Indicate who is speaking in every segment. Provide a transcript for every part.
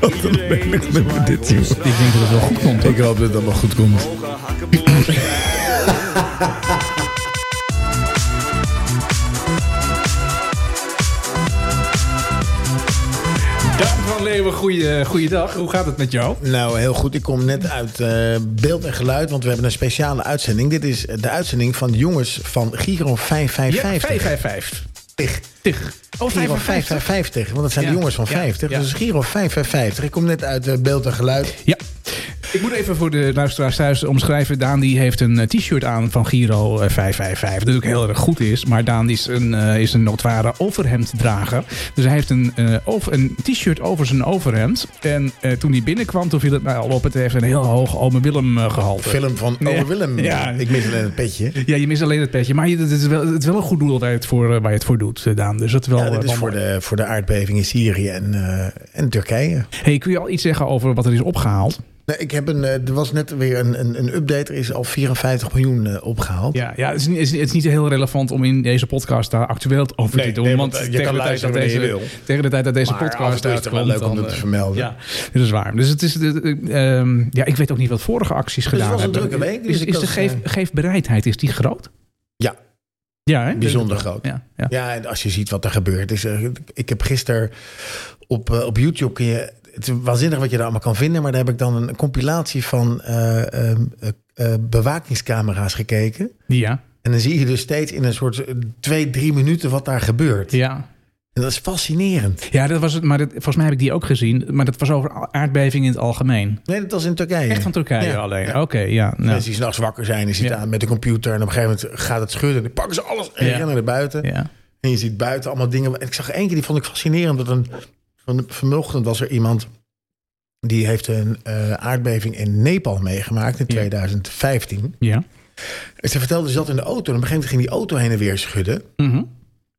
Speaker 1: Wat een belediging dit, joh.
Speaker 2: Ik denk dat het wel goed komt.
Speaker 1: Ik hoop dat het allemaal goed komt.
Speaker 2: Daan van Leeuwen, goeie, goeiedag. Hoe gaat het met jou?
Speaker 3: Nou, heel goed. Ik kom net uit eh, beeld en geluid, want we hebben een speciale uitzending. Dit is de uitzending van de jongens van Giro 555.
Speaker 2: 555.
Speaker 3: Tig.
Speaker 2: Tig. Oh,
Speaker 3: Giro
Speaker 2: 55.
Speaker 3: 555, want dat zijn
Speaker 2: Ja.
Speaker 3: de jongens van
Speaker 2: Ja.
Speaker 3: 50.
Speaker 2: Ja.
Speaker 3: Dus Giro 555. Ik kom net uit eh, beeld en geluid.
Speaker 2: Ja. Ik moet even voor de luisteraars thuis omschrijven. Daan die heeft een eh, t-shirt aan van Giro eh, 555. Dat ook heel erg goed is. Maar Daan is een, eh, is een notoire overhemddrager. Dus hij heeft een, eh, over- een t-shirt over zijn overhemd. En eh, toen hij binnenkwam, toen viel het mij al op. Het heeft een heel hoog Ome Willem eh, gehalte.
Speaker 3: Film van
Speaker 2: Ja.
Speaker 3: Ome Willem.
Speaker 2: Ja.
Speaker 3: Ik mis alleen het petje.
Speaker 2: Ja, je mist alleen het petje. Maar je- het is wel, het is wel een goed doel waar je het voor, eh, waar je het voor doet, eh, Daan. Dus dat is wel,
Speaker 3: Ja,
Speaker 2: eh,
Speaker 3: dat is
Speaker 2: wel
Speaker 3: voor
Speaker 2: mooi.
Speaker 3: de, voor de aardbeving in Syrië en, eh, en Turkije.
Speaker 2: Hey, kun je al iets zeggen over wat er is opgehaald?
Speaker 3: Nou, ik heb een, eh, er was net weer een, een, een update. Er is al 54 miljoen eh, opgehaald.
Speaker 2: Ja, ja het, is, niet- het, is, niet- het is niet heel relevant om in deze podcast daar actueel over
Speaker 3: Nee,
Speaker 2: te doen.
Speaker 3: nee,
Speaker 2: want
Speaker 3: want, eh, je
Speaker 2: tegen,
Speaker 3: kan
Speaker 2: de tijd dat
Speaker 3: luisteren wanneer
Speaker 2: deze,
Speaker 3: je
Speaker 2: tegen de tijd dat deze
Speaker 3: Maar af en toe
Speaker 2: podcast
Speaker 3: is het wel
Speaker 2: uitkomt,
Speaker 3: leuk om
Speaker 2: dan,
Speaker 3: dat te
Speaker 2: eh,
Speaker 3: vermelden.
Speaker 2: Ja, dat is waar. Dus het is, eh, eh, ehm, ja, ik weet ook niet wat vorige acties
Speaker 3: Dus het
Speaker 2: gedaan
Speaker 3: was een
Speaker 2: hebben.
Speaker 3: drukke week, dus
Speaker 2: is,
Speaker 3: ik
Speaker 2: is de
Speaker 3: was,
Speaker 2: geef,
Speaker 3: eh,
Speaker 2: geefbereidheid, is die groot?
Speaker 3: Ja.
Speaker 2: Ja, hè?
Speaker 3: Bijzonder groot.
Speaker 2: Ja, ja.
Speaker 3: Ja, en als je ziet wat er gebeurt. Dus, eh, ik heb gisteren op, eh, op YouTube. Kun je, het is waanzinnig wat je daar allemaal kan vinden. Maar daar heb ik dan een compilatie van eh, ehm, eh, eh, bewakingscamera's gekeken.
Speaker 2: Ja,
Speaker 3: En dan zie je dus steeds in een soort eh, twee, drie minuten wat daar gebeurt.
Speaker 2: ja.
Speaker 3: En dat is fascinerend.
Speaker 2: Ja, dat was het. Maar dat, volgens mij heb ik die ook gezien. Maar dat was over a- aardbevingen in het algemeen.
Speaker 3: Nee, dat was in Turkije.
Speaker 2: Echt van Turkije
Speaker 3: Ja,
Speaker 2: alleen.
Speaker 3: ja.
Speaker 2: Oké, ja. Nou,
Speaker 3: Mensen die s'nachts wakker zijn, die zitten
Speaker 2: Ja.
Speaker 3: aan met de computer. En op een gegeven moment gaat het schudden. En dan pakken ze alles en
Speaker 2: Ja.
Speaker 3: rennen naar buiten.
Speaker 2: ja.
Speaker 3: En je ziet buiten allemaal dingen. En ik zag één keer, die vond ik fascinerend. Dat een, van, vanochtend was er iemand die heeft een eh, aardbeving in Nepal meegemaakt in
Speaker 2: Ja.
Speaker 3: 2015.
Speaker 2: ja.
Speaker 3: En ze vertelde, ze zat in de auto en op een gegeven moment ging die auto heen en weer schudden.
Speaker 2: Mhm.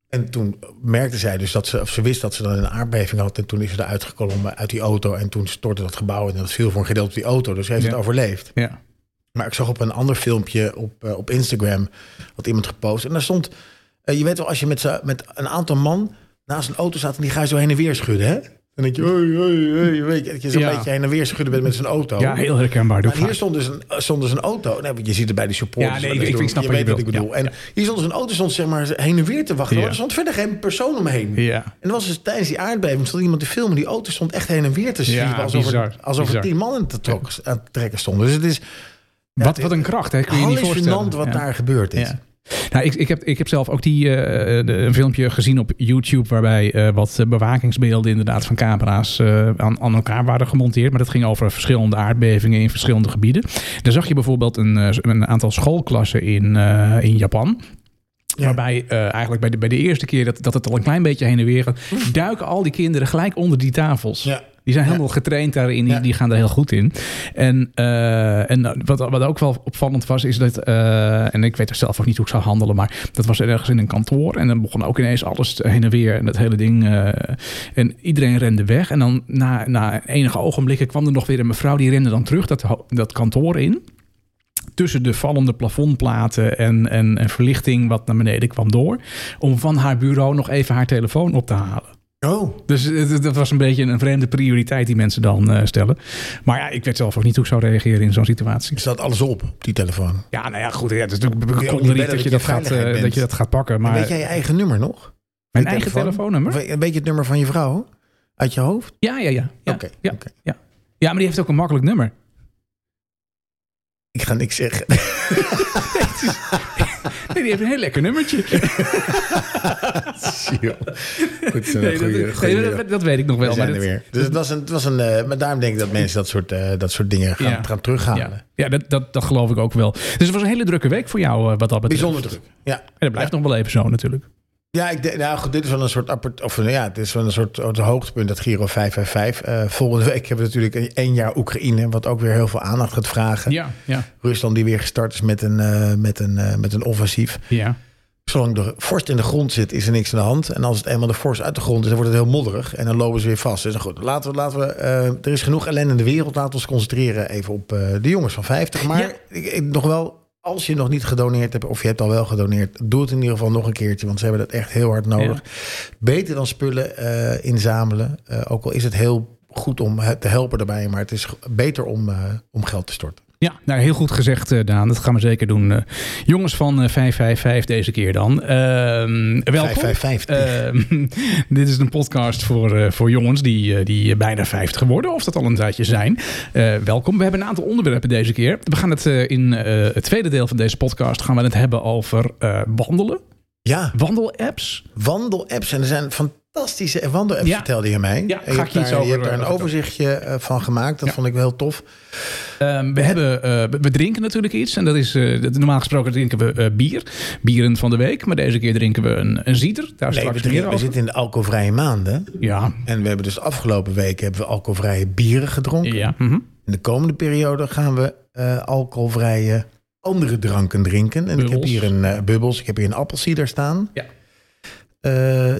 Speaker 3: En toen merkte zij dus dat ze, of ze wist dat ze dan een aardbeving had. En toen is ze eruit geklommen uit die auto. En toen stortte dat gebouw en dat viel voor een gedeelte op die auto. Dus ze heeft
Speaker 2: Ja.
Speaker 3: het overleefd.
Speaker 2: ja.
Speaker 3: Maar ik zag op een ander filmpje op, eh, op Instagram wat iemand gepost. En daar stond, eh, je weet wel, als je met, z'n- met een aantal man naast een auto staat en die ga je zo heen en weer schudden, hè? Dan denk je, hoi, hoi, hoi, weet je, dat je zo'n
Speaker 2: Ja.
Speaker 3: beetje heen en weer schudden bent met zo'n auto.
Speaker 2: ja, heel herkenbaar. Doe
Speaker 3: Oh. Maar
Speaker 2: ik vaak.
Speaker 3: hier stond dus een, stond dus een auto. Nee, want je ziet het bij de supporters.
Speaker 2: Ja, nee,
Speaker 3: wel
Speaker 2: ik-
Speaker 3: eens
Speaker 2: ik-
Speaker 3: doen.
Speaker 2: ik snap
Speaker 3: je
Speaker 2: wat je
Speaker 3: weet wat ik
Speaker 2: bedoelt.
Speaker 3: bedoel. En
Speaker 2: Ja,
Speaker 3: hier stond dus een auto, stond zeg maar heen en weer te wachten.
Speaker 2: Ja.
Speaker 3: hoor. Er stond verder geen persoon omheen.
Speaker 2: Ja.
Speaker 3: En er was dus tijdens die aardbeving stond iemand te filmen. Die auto stond echt heen en weer te schieven. alsof
Speaker 2: bizar,
Speaker 3: er, alsof
Speaker 2: bizar.
Speaker 3: er tien mannen te trok, aan het trekken stonden. Dus het is,
Speaker 2: Wat, wat een kracht, hè? Kun je je niet voorstellen.
Speaker 3: Hallucinant wat
Speaker 2: Ja.
Speaker 3: daar gebeurd is.
Speaker 2: Ja. Nou, ik, ik, heb, ik heb zelf ook die, eh, eh, de- een filmpje gezien op YouTube... waarbij eh, wat eh, bewakingsbeelden inderdaad van camera's eh, aan, aan elkaar waren gemonteerd. Maar dat ging over verschillende aardbevingen in verschillende gebieden. Daar zag je bijvoorbeeld een, eh, een aantal schoolklassen in, eh, in Japan...
Speaker 3: Ja.
Speaker 2: Waarbij eh, eigenlijk bij de, bij de eerste keer dat, dat het al een klein beetje heen en weer gaat... duiken al die kinderen gelijk onder die tafels.
Speaker 3: Ja.
Speaker 2: Die zijn helemaal getraind daarin. Die,
Speaker 3: Ja.
Speaker 2: die gaan daar heel goed in. En, eh, en wat, wat ook wel opvallend was, is dat... eh, en ik weet er zelf ook niet hoe ik zou handelen... maar dat was ergens in een kantoor. En dan begon ook ineens alles heen en weer. En dat hele ding. eh, en iedereen rende weg. En dan na, na enige ogenblikken kwam er nog weer een mevrouw... die rende dan terug dat, ho- dat kantoor in tussen de vallende plafondplaten en, en, en verlichting wat naar beneden kwam door... om van haar bureau nog even haar telefoon op te halen.
Speaker 3: Oh,
Speaker 2: Dus eh, dat was een beetje een vreemde prioriteit die mensen dan eh, stellen. Maar ja, ik weet zelf ook niet hoe ik zou reageren in zo'n situatie.
Speaker 3: er staat alles op, op die telefoon.
Speaker 2: Ja, nou ja, goed. Ja, het is natuurlijk
Speaker 3: ook niet
Speaker 2: bekonderlijk
Speaker 3: bellen
Speaker 2: dat,
Speaker 3: dat
Speaker 2: je
Speaker 3: je
Speaker 2: dat, gaat,
Speaker 3: veiligheid
Speaker 2: eh, dat
Speaker 3: bent.
Speaker 2: je dat gaat pakken. Maar
Speaker 3: weet jij je eigen nummer nog?
Speaker 2: mijn
Speaker 3: je
Speaker 2: eigen
Speaker 3: telefoon?
Speaker 2: telefoonnummer?
Speaker 3: We- Weet je het nummer van je vrouw? Uit je hoofd?
Speaker 2: Ja, ja, ja. Ja,
Speaker 3: Oké,
Speaker 2: ja,
Speaker 3: oké.
Speaker 2: ja. ja, maar die heeft ook een makkelijk nummer.
Speaker 3: Ik ga niks zeggen.
Speaker 2: Nee, die heeft een heel lekker nummertje.
Speaker 3: Goed, zo,
Speaker 2: Nee, dat,
Speaker 3: goeie-
Speaker 2: nee,
Speaker 3: goeie-
Speaker 2: dat- dat weet ik nog
Speaker 3: We
Speaker 2: wel.
Speaker 3: zijn
Speaker 2: maar
Speaker 3: er
Speaker 2: dat-
Speaker 3: weer. Dus het was een, het was een eh, maar daarom denk ik dat mensen dat soort, eh, dat soort dingen gaan,
Speaker 2: Ja.
Speaker 3: gaan terughalen.
Speaker 2: ja, ja dat, dat, dat geloof ik ook wel. Dus het was een hele drukke week voor jou eh, wat dat betreft.
Speaker 3: Bijzonder druk. Ja,
Speaker 2: En dat blijft nog wel even zo natuurlijk.
Speaker 3: ja ik denk, nou goed, dit is wel een soort, apport, of, nou ja, het is wel een soort soort hoogtepunt, dat Giro 555. Eh, volgende week hebben we natuurlijk één jaar Oekraïne, wat ook weer heel veel aandacht gaat vragen.
Speaker 2: Ja, ja,
Speaker 3: Rusland die weer gestart is met een, eh, met een, eh, met een offensief.
Speaker 2: ja.
Speaker 3: Zolang de vorst in de grond zit, is er niks aan de hand. En als het eenmaal de vorst uit de grond is, dan wordt het heel modderig. En dan lopen ze weer vast. Dus goed, laten we, laten we, eh, er is genoeg ellende in de wereld. Laten we ons concentreren even op eh, de jongens van 50. Maar
Speaker 2: Ja.
Speaker 3: ik, ik- nog wel, als je nog niet gedoneerd hebt... of je hebt al wel gedoneerd, doe het in ieder geval nog een keertje. Want ze hebben dat echt heel hard nodig. Beter dan spullen eh, inzamelen. Eh, ook al is het heel goed om eh, te helpen daarbij, maar het is g- beter om, eh, om geld te storten.
Speaker 2: Ja, nou, heel goed gezegd, eh, Daan. Dat gaan we zeker doen. Eh, jongens van eh, 555 deze keer dan. Ehm welkom.
Speaker 3: 555.
Speaker 2: Ehm, dit is een podcast voor, eh, voor jongens die, eh, die bijna 50 worden, of dat al een tijdje zijn. Eh, welkom. We hebben een aantal onderwerpen deze keer. We gaan het eh, in eh, het tweede deel van deze podcast gaan we het hebben over eh, wandelen.
Speaker 3: Ja,
Speaker 2: Wandelapps.
Speaker 3: wandelapps. En er zijn fantastische wandelapps,
Speaker 2: Ja.
Speaker 3: vertelde je mij.
Speaker 2: Ja,
Speaker 3: En
Speaker 2: ga
Speaker 3: je
Speaker 2: ik
Speaker 3: hebt
Speaker 2: iets
Speaker 3: daar,
Speaker 2: over,
Speaker 3: Je hebt daar een
Speaker 2: eh, vertellen.
Speaker 3: overzichtje eh, van gemaakt. Dat
Speaker 2: Ja.
Speaker 3: vond ik wel heel tof.
Speaker 2: Ehm, we, hebben, eh, we- we drinken natuurlijk iets. En dat is, eh, dat- normaal gesproken drinken we eh, bier. Bieren van de week. Maar deze keer drinken we een, een zieter. Daar
Speaker 3: Nee, we,
Speaker 2: straks
Speaker 3: drinken-
Speaker 2: meer
Speaker 3: we
Speaker 2: over.
Speaker 3: zitten in de alcoholvrije maanden.
Speaker 2: Ja.
Speaker 3: En we hebben dus de afgelopen weken hebben we alcoholvrije bieren gedronken.
Speaker 2: ja. mhm.
Speaker 3: In de komende periode gaan we eh, alcoholvrije andere dranken drinken. En ik heb
Speaker 2: Bubbels.
Speaker 3: hier een eh, bubbels, ik heb hier een appelsieder staan.
Speaker 2: Ja.
Speaker 3: Eh,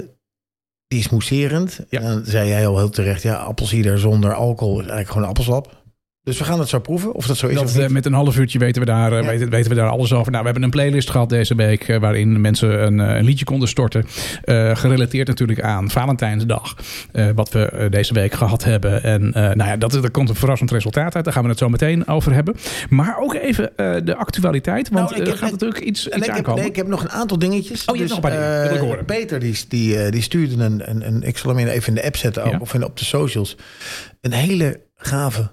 Speaker 3: die is mousserend.
Speaker 2: Ja.
Speaker 3: En dan zei jij al heel terecht, ja, appelsieder zonder alcohol is eigenlijk gewoon een appelsap. Dus we gaan het zo proeven, of dat zo is
Speaker 2: Dat,
Speaker 3: of niet.
Speaker 2: eh, met een half uurtje weten we, daar, eh,
Speaker 3: Ja.
Speaker 2: weten, weten we daar alles over. Nou, we hebben een playlist gehad deze week eh, waarin mensen een, eh, een liedje konden storten. Eh, gerelateerd natuurlijk aan Valentijnsdag. eh, wat we eh, deze week gehad hebben. En eh, nou ja, dat, dat komt een verrassend resultaat uit. Daar gaan we het zo meteen over hebben. Maar ook even eh, de actualiteit. Want eh,
Speaker 3: Nou, ik
Speaker 2: er
Speaker 3: heb-
Speaker 2: gaat natuurlijk iets,
Speaker 3: En
Speaker 2: iets
Speaker 3: ik, heb,
Speaker 2: aankomen.
Speaker 3: nee, ik heb nog een aantal dingetjes.
Speaker 2: Oh, je hebt nog een paar dingen. Dat wil ik
Speaker 3: eh,
Speaker 2: horen.
Speaker 3: Peter die, die, eh, die stuurde een, een, een, ik zal hem even in de app zetten ook,
Speaker 2: Ja.
Speaker 3: of in, op de socials, een hele gave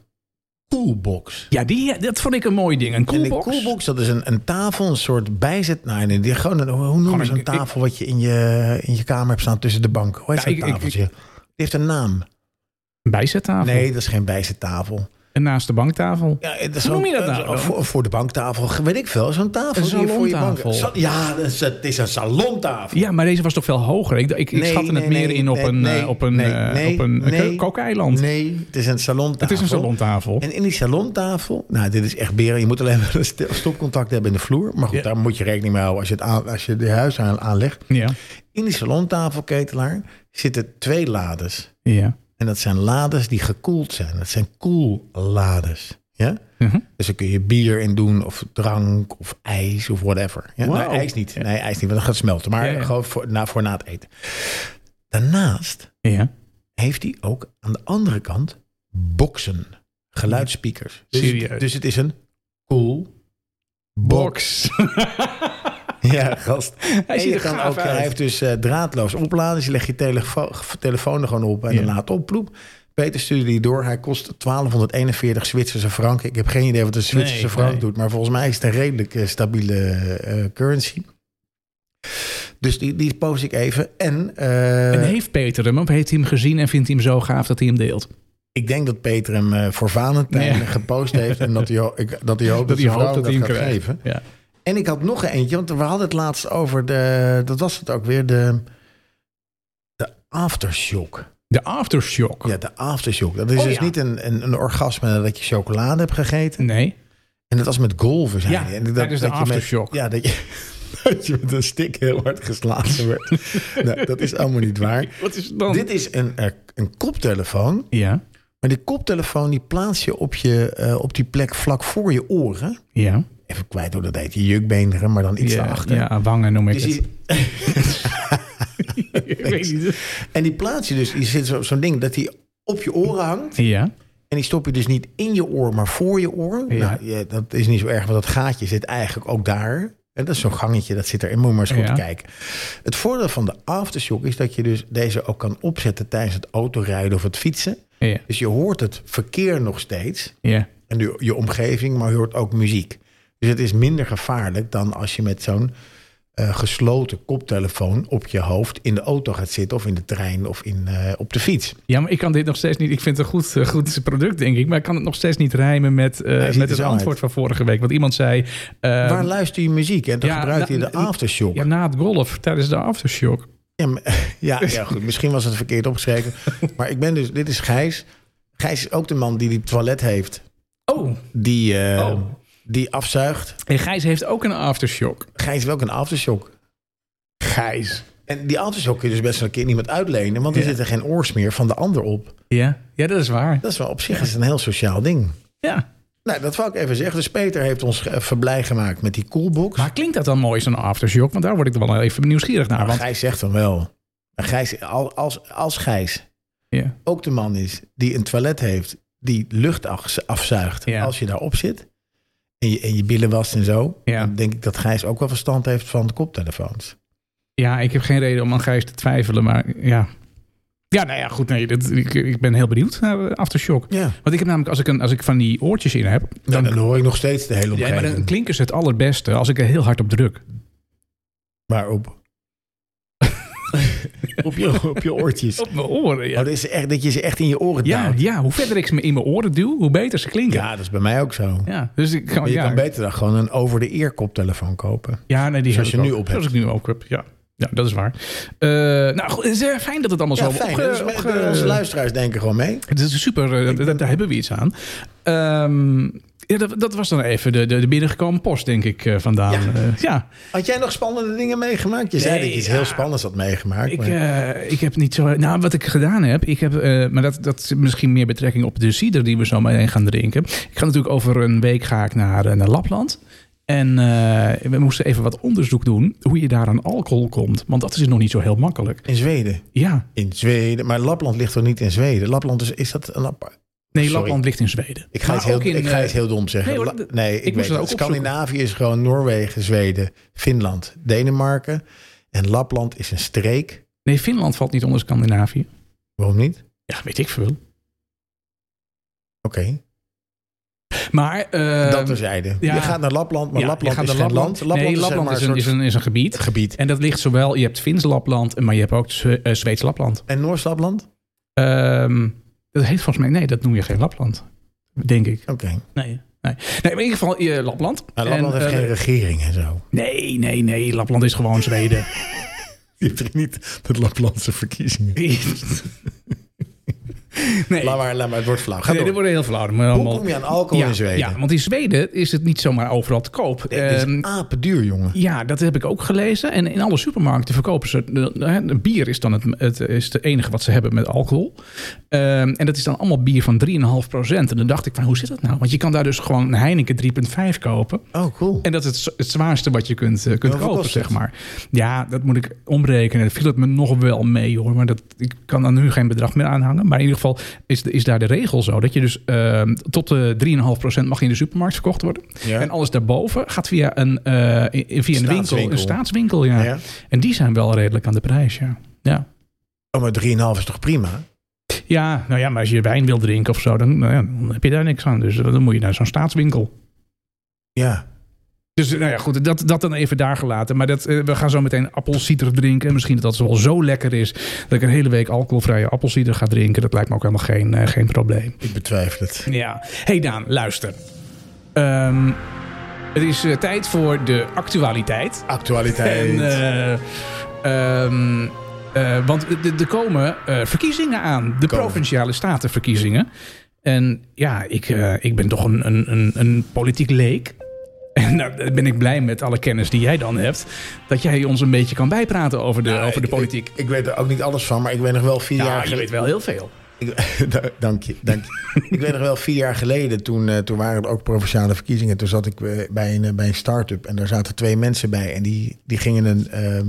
Speaker 3: coolbox.
Speaker 2: ja, die, eh, dat vond ik een mooi ding. Een
Speaker 3: En de
Speaker 2: coolbox.
Speaker 3: coolbox, dat is een, een tafel, een soort bijzet. Nou, nee, die, gewoon een, hoe noem
Speaker 2: Gewoon
Speaker 3: je zo'n
Speaker 2: een-
Speaker 3: tafel wat je in, je in je kamer hebt staan tussen de banken? Hoe heet
Speaker 2: Ja,
Speaker 3: zo'n
Speaker 2: ik- Ah, ik-
Speaker 3: tafeltje? Die heeft een naam.
Speaker 2: Een bijzettafel.
Speaker 3: Nee, dat is geen bijzettafel.
Speaker 2: En naast de banktafel.
Speaker 3: Ja, dat is
Speaker 2: Hoe
Speaker 3: zo'n-
Speaker 2: noem je dat nou
Speaker 3: eh,
Speaker 2: dan?
Speaker 3: Voor, voor de banktafel, weet ik veel. Zo'n tafel.
Speaker 2: Een
Speaker 3: die je voor je bank-
Speaker 2: salontafel.
Speaker 3: Sa- ja, dat is- het is een salontafel.
Speaker 2: Ja, maar deze was toch veel hoger. Ik, ik, ik
Speaker 3: Nee,
Speaker 2: schatte
Speaker 3: nee,
Speaker 2: het meer
Speaker 3: nee,
Speaker 2: in op
Speaker 3: nee,
Speaker 2: een, eh,
Speaker 3: nee,
Speaker 2: op een,
Speaker 3: nee,
Speaker 2: eh,
Speaker 3: nee,
Speaker 2: op een eh,
Speaker 3: nee,
Speaker 2: kookeiland.
Speaker 3: Nee, Nou, het is een salontafel.
Speaker 2: Het is een salontafel.
Speaker 3: En in die salontafel, nou dit is echt beren. Je moet alleen maar een st- stopcontact hebben in de vloer. Maar goed,
Speaker 2: Ja.
Speaker 3: daar moet je rekening mee houden als je, het aan, als je de huis aan, aanlegt.
Speaker 2: Ja.
Speaker 3: In die salontafelketelaar zitten twee lades.
Speaker 2: ja.
Speaker 3: En dat zijn lades die gekoeld zijn. Dat zijn koellades. Ja?
Speaker 2: Mhm.
Speaker 3: Dus daar kun je bier in doen, of drank, of ijs, of whatever. Ja?
Speaker 2: Wauw.
Speaker 3: Nee, ijs niet. Nee, ijs niet, want dan gaat het smelten. Maar
Speaker 2: Ja, ja.
Speaker 3: gewoon voor na, voor na het eten. Daarnaast
Speaker 2: ja.
Speaker 3: heeft hij ook aan de andere kant boksen. Geluidsspeakers. Dus,
Speaker 2: Serieus?
Speaker 3: dus het is een cool box. Ja, gast.
Speaker 2: Hij
Speaker 3: En
Speaker 2: ziet
Speaker 3: je
Speaker 2: er
Speaker 3: kan
Speaker 2: gaaf
Speaker 3: ook,
Speaker 2: uit.
Speaker 3: Hij heeft dus eh, draadloos opladen. Dus je legt je telefo- telefoon er gewoon op en
Speaker 2: Ja.
Speaker 3: dan laat op. Ploep. Peter stuurde die door. Hij kost 1241 Zwitserse franken. Ik heb geen idee wat een Zwitserse
Speaker 2: Nee,
Speaker 3: frank
Speaker 2: nee.
Speaker 3: doet. Maar volgens mij is het een redelijk eh, stabiele eh, currency. Dus die, die post ik even. En, eh,
Speaker 2: en heeft Peter hem of heeft hij hem gezien en vindt hij hem zo gaaf dat hij hem deelt?
Speaker 3: ik denk dat Peter hem eh, voor Valentijn
Speaker 2: Nee.
Speaker 3: gepost heeft. En dat hij, ho- ik- dat hij hoopt dat,
Speaker 2: hij
Speaker 3: zijn vrouw
Speaker 2: hoopt dat hij
Speaker 3: hem
Speaker 2: hem
Speaker 3: dat gaat
Speaker 2: krijgt.
Speaker 3: geven.
Speaker 2: Ja.
Speaker 3: En ik had nog eentje, want we hadden het laatst over de. Dat was het ook weer, de. De aftershock.
Speaker 2: De aftershock.
Speaker 3: Ja, de aftershock. Dat is
Speaker 2: Oh,
Speaker 3: dus
Speaker 2: ja.
Speaker 3: niet een, een, een orgasme nadat je chocolade hebt gegeten.
Speaker 2: Nee.
Speaker 3: En dat was met golven zijn.
Speaker 2: Ja,
Speaker 3: en dat,
Speaker 2: tijdens de
Speaker 3: dat je met-
Speaker 2: aftershock.
Speaker 3: ja, dat je, dat je met een stik heel hard geslagen werd. nou, dat is allemaal niet waar.
Speaker 2: Wat is het dan?
Speaker 3: Dit is een, eh, een koptelefoon.
Speaker 2: Ja.
Speaker 3: Maar die koptelefoon die plaats je op, je, eh, op die plek vlak voor je oren.
Speaker 2: Ja.
Speaker 3: Even kwijt hoe dat heet. Je jukbeenderen, maar dan iets
Speaker 2: ja,
Speaker 3: daarachter.
Speaker 2: Ja, wangen noem ik
Speaker 3: Dus
Speaker 2: het.
Speaker 3: die-
Speaker 2: Ik weet niet.
Speaker 3: En die plaats je dus, je zit zo- zo'n ding dat die op je oren hangt.
Speaker 2: Ja.
Speaker 3: En die stop je dus niet in je oor, maar voor je oor.
Speaker 2: Ja.
Speaker 3: Nou, ja, dat is niet zo erg, want dat gaatje zit eigenlijk ook daar. En dat is zo'n gangetje, dat zit erin. Moet je maar eens goed
Speaker 2: Ja.
Speaker 3: kijken. Het voordeel van de aftershock is dat je dus deze ook kan opzetten tijdens het autorijden of het fietsen.
Speaker 2: Ja.
Speaker 3: Dus je hoort het verkeer nog steeds
Speaker 2: Ja.
Speaker 3: en je, je omgeving, maar je hoort ook muziek. Dus het is minder gevaarlijk dan als je met zo'n eh, gesloten koptelefoon op je hoofd in de auto gaat zitten of in de trein of in, eh, op de fiets.
Speaker 2: Ja, maar ik kan dit nog steeds niet. Ik vind het een goed, eh, goed product, denk ik. Maar ik kan het nog steeds niet rijmen met, eh,
Speaker 3: ziet er
Speaker 2: met het
Speaker 3: zo uit.
Speaker 2: antwoord van vorige week. Want iemand zei. eh,
Speaker 3: Waar luister je muziek? En dan
Speaker 2: ja,
Speaker 3: gebruikt hij
Speaker 2: nou,
Speaker 3: de aftershock.
Speaker 2: ja,
Speaker 3: Ja,
Speaker 2: na het golf, tijdens de aftershock.
Speaker 3: maar- ja, ja, goed. Misschien was het verkeerd opgeschreven. maar ik ben dus, dit is Gijs. Gijs is ook de man die die toilet heeft,
Speaker 2: Oh,
Speaker 3: die, eh,
Speaker 2: Oh.
Speaker 3: die afzuigt.
Speaker 2: en Gijs heeft ook een aftershock.
Speaker 3: Gijs is ook een aftershock.
Speaker 2: Gijs.
Speaker 3: En die aftershock kun je dus best wel een keer niemand uitlenen, want er
Speaker 2: Ja.
Speaker 3: zit er geen oorsmeer van de ander op.
Speaker 2: Ja, ja dat is waar.
Speaker 3: Dat is wel op zich is het een heel sociaal ding.
Speaker 2: Ja.
Speaker 3: Nou, dat wou ik even zeggen. Dus Peter heeft ons eh, verblij gemaakt met die coolbox.
Speaker 2: Maar klinkt dat dan mooi, zo'n aftershock? Want daar word ik dan wel even nieuwsgierig naar.
Speaker 3: Maar
Speaker 2: Want
Speaker 3: Gijs zegt dan wel. Maar Gijs, al- als, als Gijs
Speaker 2: Ja.
Speaker 3: ook de man is die een toilet heeft die lucht af- afzuigt
Speaker 2: Ja.
Speaker 3: als je daarop zit. En je, en je billen wast en zo.
Speaker 2: Ja.
Speaker 3: Dan denk ik dat Gijs ook wel verstand heeft van de koptelefoons.
Speaker 2: ja, ik heb geen reden om aan Gijs te twijfelen, maar ja. Ja, nou ja, goed. Nee, dat, ik, ik ben heel benieuwd naar eh, Aftershock.
Speaker 3: Ja.
Speaker 2: Want ik heb namelijk, als ik, een, als ik van die oortjes in heb,
Speaker 3: Dan,
Speaker 2: dan,
Speaker 3: dan hoor ik nog steeds de hele
Speaker 2: ja,
Speaker 3: omgeving.
Speaker 2: maar dan klinken ze het allerbeste als ik er heel hard op druk.
Speaker 3: Waarop? op, je, op je oortjes.
Speaker 2: Op mijn oren,
Speaker 3: Oh, dat, is echt, dat je ze echt in je oren
Speaker 2: Ja,
Speaker 3: duwt.
Speaker 2: ja, hoe verder ik ze in mijn oren duw, hoe beter ze klinken.
Speaker 3: Ja, dat is bij mij ook zo.
Speaker 2: Ja, dus ik kan,
Speaker 3: Maar je
Speaker 2: ja,
Speaker 3: kan beter dan gewoon een over-de-ear koptelefoon kopen.
Speaker 2: ja, nee, die
Speaker 3: zoals
Speaker 2: heb
Speaker 3: je
Speaker 2: ik
Speaker 3: nu
Speaker 2: ook.
Speaker 3: op hebt.
Speaker 2: Zoals ik dus nu ook heb, ja. Ja, dat is waar. Eh, nou, goed, het is eh, fijn dat het allemaal
Speaker 3: Ja,
Speaker 2: zo
Speaker 3: fijn.
Speaker 2: opge-
Speaker 3: Dus
Speaker 2: opge-
Speaker 3: onze luisteraars denken gewoon mee.
Speaker 2: Het is super, eh, dat- dat- daar hebben we iets aan. Ehm, ja, dat, dat was dan even de, de, de binnengekomen post, denk ik, eh, vandaan.
Speaker 3: Ja.
Speaker 2: Eh, ja.
Speaker 3: Had jij nog spannende dingen meegemaakt? Je zei
Speaker 2: Nee,
Speaker 3: dat je iets
Speaker 2: ja.
Speaker 3: heel spannends had meegemaakt.
Speaker 2: Ik,
Speaker 3: maar-
Speaker 2: eh, ik heb niet zo. Nou, wat ik gedaan heb, ik heb. eh, maar dat, dat is misschien meer betrekking op de cider die we zo meteen gaan drinken. Ik ga natuurlijk over een week ga ik naar, eh, naar Lapland. En eh, we moesten even wat onderzoek doen hoe je daar aan alcohol komt. Want dat is nog niet zo heel makkelijk.
Speaker 3: In Zweden.
Speaker 2: Ja,
Speaker 3: In Zweden. Maar Lapland ligt toch niet in Zweden? Lapland is, is dat een apart...
Speaker 2: nee,
Speaker 3: Sorry.
Speaker 2: Lapland ligt in Zweden.
Speaker 3: Ik ga,
Speaker 2: Maar
Speaker 3: het heel,
Speaker 2: ook in,
Speaker 3: ik ga
Speaker 2: eh,
Speaker 3: het heel dom zeggen.
Speaker 2: nee hoor,
Speaker 3: La-
Speaker 2: dat-
Speaker 3: nee,
Speaker 2: ik moest
Speaker 3: ik, weet
Speaker 2: het
Speaker 3: het.
Speaker 2: ook opzoeken.
Speaker 3: Scandinavië is gewoon Noorwegen, Zweden, Finland, Denemarken. En Lapland is een streek.
Speaker 2: Nee, Finland valt niet onder Scandinavië.
Speaker 3: Waarom niet?
Speaker 2: Ja, weet ik veel.
Speaker 3: Oké,
Speaker 2: Maar. eh,
Speaker 3: dat terzijde.
Speaker 2: Ehm, ja.
Speaker 3: Je gaat naar Lapland, maar
Speaker 2: ja, je
Speaker 3: Lapland
Speaker 2: gaat
Speaker 3: is
Speaker 2: naar
Speaker 3: geen land. Lapland
Speaker 2: nee,
Speaker 3: is, zeg
Speaker 2: Lapland
Speaker 3: maar
Speaker 2: is, een,
Speaker 3: een
Speaker 2: is,
Speaker 3: soort
Speaker 2: een, is een gebied.
Speaker 3: gebied.
Speaker 2: En dat ligt zowel, je hebt Fins Lapland, maar je hebt ook Zwe- eh, Zweeds Lapland.
Speaker 3: En Noors-Lapland?
Speaker 2: Ehm, dat heet volgens mij, nee, dat noem je geen Lapland. Denk ik.
Speaker 3: Oké.
Speaker 2: Nee. Nee, nee maar in ieder geval eh, Lapland.
Speaker 3: Maar Ah, Lapland
Speaker 2: En,
Speaker 3: Nou, heeft
Speaker 2: eh,
Speaker 3: geen regering en zo.
Speaker 2: Nee, nee, nee. Lapland is gewoon Zweden.
Speaker 3: Je hebt niet de Laplandse verkiezingen.
Speaker 2: nee.
Speaker 3: Laat maar, laat maar, het wordt flauw. Ga
Speaker 2: Nee,
Speaker 3: door.
Speaker 2: dit worden heel flauw. Maar allemaal-
Speaker 3: Hoe kom je aan alcohol
Speaker 2: ja,
Speaker 3: in Zweden?
Speaker 2: ja, want in Zweden is het niet zomaar overal te koop.
Speaker 3: het
Speaker 2: Ehm,
Speaker 3: is apenduur, jongen.
Speaker 2: Ja, dat heb ik ook gelezen. En in alle supermarkten verkopen ze. eh, eh, Bier is dan het, het, is het enige wat ze hebben met alcohol. Ehm, en dat is dan allemaal bier van 3,5 En dan dacht ik van, hoe zit dat nou? Want je kan daar dus gewoon een Heineken 3,5 kopen.
Speaker 3: Oh, cool.
Speaker 2: En dat is het, z- het zwaarste wat je kunt, eh, kunt
Speaker 3: Hoeveel
Speaker 2: kopen,
Speaker 3: kost
Speaker 2: zeg
Speaker 3: het?
Speaker 2: maar. Ja, dat moet ik omrekenen. Dat viel het me nog wel mee, hoor. Maar dat, ik kan dan nu geen bedrag meer aanhangen. Maar in ieder geval is, de- is daar de regel zo. Dat je dus ehm, tot de 3,5% mag in de supermarkt verkocht worden.
Speaker 3: Ja.
Speaker 2: En alles daarboven gaat via een, eh, in- in- via een winkel,
Speaker 3: Staatswinkel.
Speaker 2: een staatswinkel. Ja.
Speaker 3: Ja.
Speaker 2: En die zijn wel redelijk aan de prijs, ja. ja.
Speaker 3: Oh, maar 3,5 is toch prima?
Speaker 2: Ja, nou ja, maar als je wijn wil drinken of zo, dan, nou ja, dan heb je daar niks aan. Dus eh, dan moet je naar zo'n staatswinkel.
Speaker 3: Ja.
Speaker 2: Dus nou ja, goed, dat, dat dan even daar gelaten. Maar dat, eh, we gaan zo meteen appelcider drinken. En misschien dat dat wel zo lekker is dat ik een hele week alcoholvrije appelcider ga drinken. Dat lijkt me ook helemaal geen, eh, geen probleem.
Speaker 3: Ik betwijfel het.
Speaker 2: Ja. Hey Daan, luister. Ehm, het is eh, tijd voor de actualiteit. En,
Speaker 3: Actualiteit.
Speaker 2: eh, ehm, eh, want er- er komen eh, verkiezingen aan. De
Speaker 3: Komen.
Speaker 2: provinciale statenverkiezingen. En ja, ik, eh, ik ben toch een, een, een, een politiek leek. En daar ben ik blij met alle kennis die jij dan hebt. Dat jij ons een beetje kan bijpraten over de, over de politiek.
Speaker 3: Nou, Ik, ik weet er ook niet alles van, maar ik weet nog wel vier
Speaker 2: ja,
Speaker 3: jaar
Speaker 2: je
Speaker 3: geleden.
Speaker 2: weet wel heel veel.
Speaker 3: Ik- Da- dank je, dank je. ik weet nog wel vier jaar geleden, toen, eh, toen waren het ook provinciale verkiezingen. Toen zat ik eh, bij een, eh, bij een start-up en daar zaten twee mensen bij. En die, die gingen een, ehm,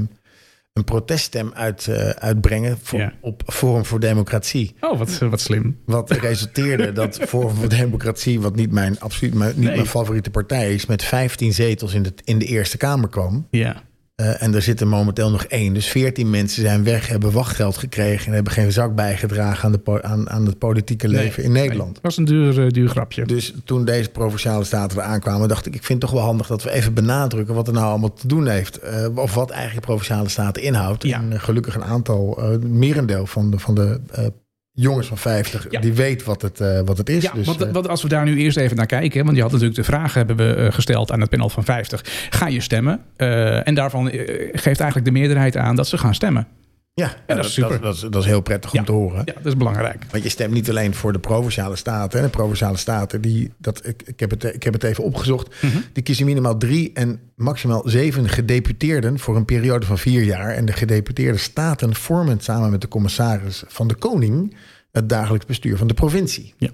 Speaker 3: een proteststem uit, eh, uitbrengen voor,
Speaker 2: Ja.
Speaker 3: op Forum voor Democratie.
Speaker 2: Oh, wat, wat slim.
Speaker 3: Wat resulteerde dat Forum voor Democratie, wat niet mijn, absoluut mijn, niet
Speaker 2: Nee.
Speaker 3: mijn favoriete partij is, met 15 zetels in de, in de Eerste Kamer kwam.
Speaker 2: Ja.
Speaker 3: Eh, en er zitten momenteel nog één. Dus veertien mensen zijn weg, hebben wachtgeld gekregen... en hebben geen zak bijgedragen aan, de po- aan, aan het politieke leven in Nederland.
Speaker 2: was een duur, eh, duur grapje.
Speaker 3: Dus toen deze provinciale staten er aankwamen... dacht ik, ik vind het toch wel handig dat we even benadrukken... wat er nou allemaal te doen heeft. eh, of wat eigenlijk provinciale staten inhoudt.
Speaker 2: Ja.
Speaker 3: En eh, gelukkig een aantal, eh, merendeel van de, van de eh, jongens van 50...
Speaker 2: Ja.
Speaker 3: die weet wat het, eh, wat het is.
Speaker 2: Ja,
Speaker 3: dus,
Speaker 2: want,
Speaker 3: eh,
Speaker 2: want als we daar nu eerst even naar kijken, hè, want je had natuurlijk de vraag hebben we eh, gesteld aan het panel van 50. Ga je stemmen? Eh, en daarvan eh, geeft eigenlijk de meerderheid aan dat ze gaan stemmen.
Speaker 3: ja,
Speaker 2: dat
Speaker 3: dat,
Speaker 2: is super.
Speaker 3: Dat, dat, is- dat is heel prettig om te horen.
Speaker 2: Ja, dat is belangrijk.
Speaker 3: Want je stemt niet alleen voor de provinciale staten. En de provinciale staten, die, dat, ik, ik, heb het, ik heb het even opgezocht. Die kiezen minimaal drie en maximaal zeven gedeputeerden voor een periode van vier jaar. En de gedeputeerde staten vormen samen met de commissaris van de Koning het dagelijks bestuur van de provincie.
Speaker 2: Ja.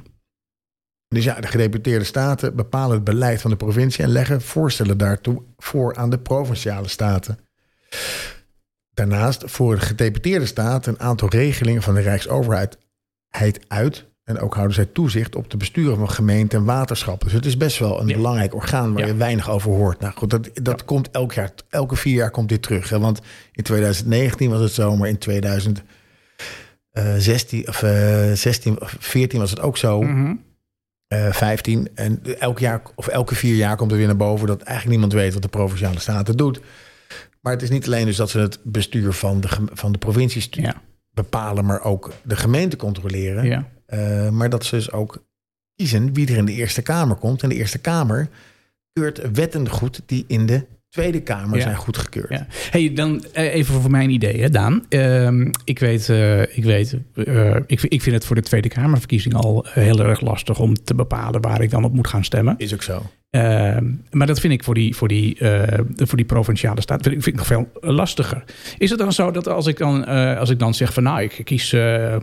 Speaker 3: Dus ja, de gedeputeerde staten bepalen het beleid van de provincie en leggen voorstellen daartoe voor aan de provinciale staten. Daarnaast voor de gedeputeerde staten een aantal regelingen van de Rijksoverheid overheid uit. En ook houden zij toezicht op de besturen van gemeenten en waterschappen. Dus het is best wel een
Speaker 2: Ja.
Speaker 3: belangrijk orgaan waar
Speaker 2: Ja.
Speaker 3: je weinig over hoort. Nou goed, dat, dat komt elk jaar, elke vier jaar komt dit terug. Hè? Want in 2019 was het zo, maar in 2016 of eh 16 of 14 was het ook zo.
Speaker 2: Mhm.
Speaker 3: eh, 15. En elk jaar of elke vier jaar komt er weer naar boven dat eigenlijk niemand weet wat de provinciale staten doet. Maar het is niet alleen dus dat ze het bestuur van de, gem- van de provincies
Speaker 2: Ja,
Speaker 3: bepalen, maar ook de gemeente controleren.
Speaker 2: ja.
Speaker 3: Eh, maar dat ze dus ook kiezen wie er in de Eerste Kamer komt. En de Eerste Kamer keurt wetten goed die in de Tweede Kamer
Speaker 2: Ja.
Speaker 3: zijn goedgekeurd.
Speaker 2: Ja. Hey, dan eh, even voor mijn idee, hè, Daan. Ehm, ik weet, eh, ik, weet eh, ik, vind- ik vind het voor de Tweede Kamerverkiezing al heel erg lastig om te bepalen waar ik dan op moet gaan stemmen.
Speaker 3: Is ook zo.
Speaker 2: Ehm, maar dat vind ik voor die, voor die, eh, voor die provinciale staat vind ik, vind ik nog veel lastiger. Is het dan zo dat als ik dan, eh, als ik dan zeg van nou, ik kies, eh,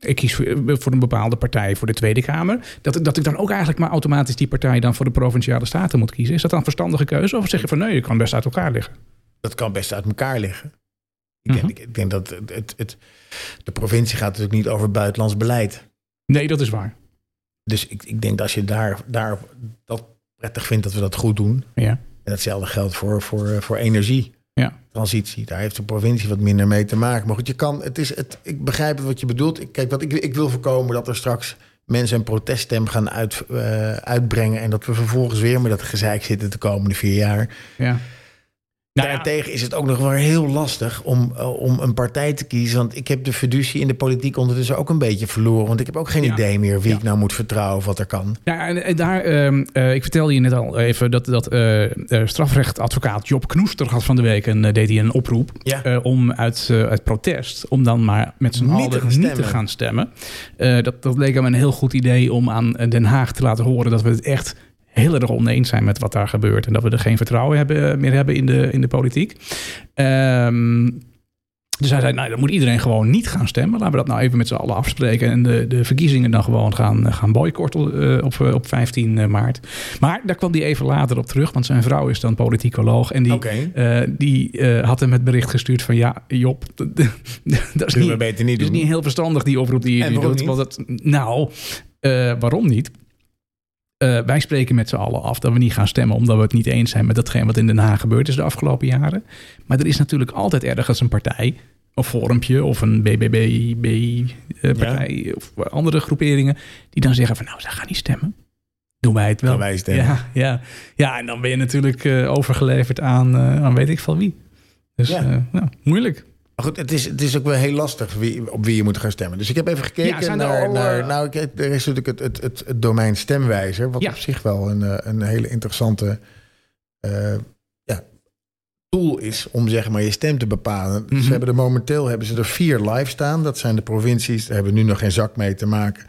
Speaker 2: ik kies voor- eh, voor een bepaalde partij voor de Tweede Kamer, dat, dat ik dan ook eigenlijk maar automatisch die partij dan voor de provinciale staten moet kiezen? Is dat dan een verstandige keuze? Of zeg je van nee, je kan best uit elkaar liggen?
Speaker 3: Dat kan best uit elkaar liggen. Ik denk,
Speaker 2: Mhm.
Speaker 3: ik denk dat het, het, het- de provincie gaat natuurlijk niet over buitenlands beleid.
Speaker 2: Nee, dat is waar.
Speaker 3: Dus ik, ik denk dat als je daar, daar dat prettig vindt dat we dat goed doen.
Speaker 2: Ja.
Speaker 3: En hetzelfde geldt voor, voor, eh, voor energie.
Speaker 2: Ja.
Speaker 3: Transitie, daar heeft de provincie wat minder mee te maken. Maar goed, je kan, het is, het, ik begrijp wat je bedoelt. Ik, kijk, wat ik, ik wil voorkomen dat er straks mensen een proteststem gaan uit, eh, uitbrengen. En dat we vervolgens weer met dat gezeik zitten de komende vier jaar.
Speaker 2: Ja. Nou, ja,
Speaker 3: Daarentegen is het ook nog wel heel lastig om, eh, om een partij te kiezen. Want ik heb de fiducie in de politiek ondertussen ook een beetje verloren. Want ik heb ook geen
Speaker 2: Ja.
Speaker 3: idee meer wie
Speaker 2: Ja.
Speaker 3: ik nou moet vertrouwen of wat er kan.
Speaker 2: nou ja, en, en daar, ehm, eh, ik vertelde je net al even dat, dat eh, eh, strafrechtadvocaat Job Knoester had van de week en deed hij een oproep
Speaker 3: Ja.
Speaker 2: eh, om uit, eh, uit protest, om dan maar met z'n
Speaker 3: Niet
Speaker 2: allen
Speaker 3: te gaan
Speaker 2: niet te
Speaker 3: stemmen.
Speaker 2: gaan stemmen. Eh, dat, dat leek hem een heel goed idee om aan eh, Den Haag te laten horen dat we het echt heel erg oneens zijn met wat daar gebeurt. En dat we er geen vertrouwen hebben, eh, meer hebben in de, in de politiek. Ehm, dus hij zei, nou, dan moet iedereen gewoon niet gaan stemmen. Laten we dat nou even met z'n allen afspreken. En de, de verkiezingen dan gewoon gaan, eh, gaan boycotten eh, op, eh, op 15 maart. Maar daar kwam hij even later op terug. Want zijn vrouw is dan politicoloog. En die,
Speaker 3: Oké.
Speaker 2: eh, die eh, had hem het bericht gestuurd van ja, Job, dat is
Speaker 3: Zullen we
Speaker 2: niet,
Speaker 3: beter Dus niet
Speaker 2: dat is
Speaker 3: doen.
Speaker 2: niet heel verstandig die oproep die je
Speaker 3: En
Speaker 2: nu
Speaker 3: waarom
Speaker 2: doet. Want dat, nou, eh, waarom niet? Eh, wij spreken met z'n allen af dat we niet gaan stemmen omdat we het niet eens zijn met datgene wat in Den Haag gebeurd is de afgelopen jaren. Maar er is natuurlijk altijd ergens een partij, een forumpje of een BBB-partij eh, of andere groeperingen die dan zeggen van nou, zij gaan niet stemmen. Doen wij het wel.
Speaker 3: Gaan wij stemmen.
Speaker 2: Ja, ja. ja, en dan ben je natuurlijk eh, overgeleverd aan, eh, aan weet ik van wie. Dus
Speaker 3: Ja.
Speaker 2: eh, nou, moeilijk.
Speaker 3: Maar goed, het is, het is ook wel heel lastig wie, op wie je moet gaan stemmen. Dus ik heb even gekeken
Speaker 2: Ja, zijn er
Speaker 3: naar...
Speaker 2: al,
Speaker 3: naar
Speaker 2: eh,
Speaker 3: nou, ik, er is natuurlijk het, het, het, het domein stemwijzer... wat
Speaker 2: Ja.
Speaker 3: op zich wel een, eh, een hele interessante eh, ja, tool is... om zeg maar je stem te bepalen.
Speaker 2: Mhm.
Speaker 3: Ze hebben er momenteel hebben ze er vier live staan. Dat zijn de provincies, daar hebben we nu nog geen zak mee te maken.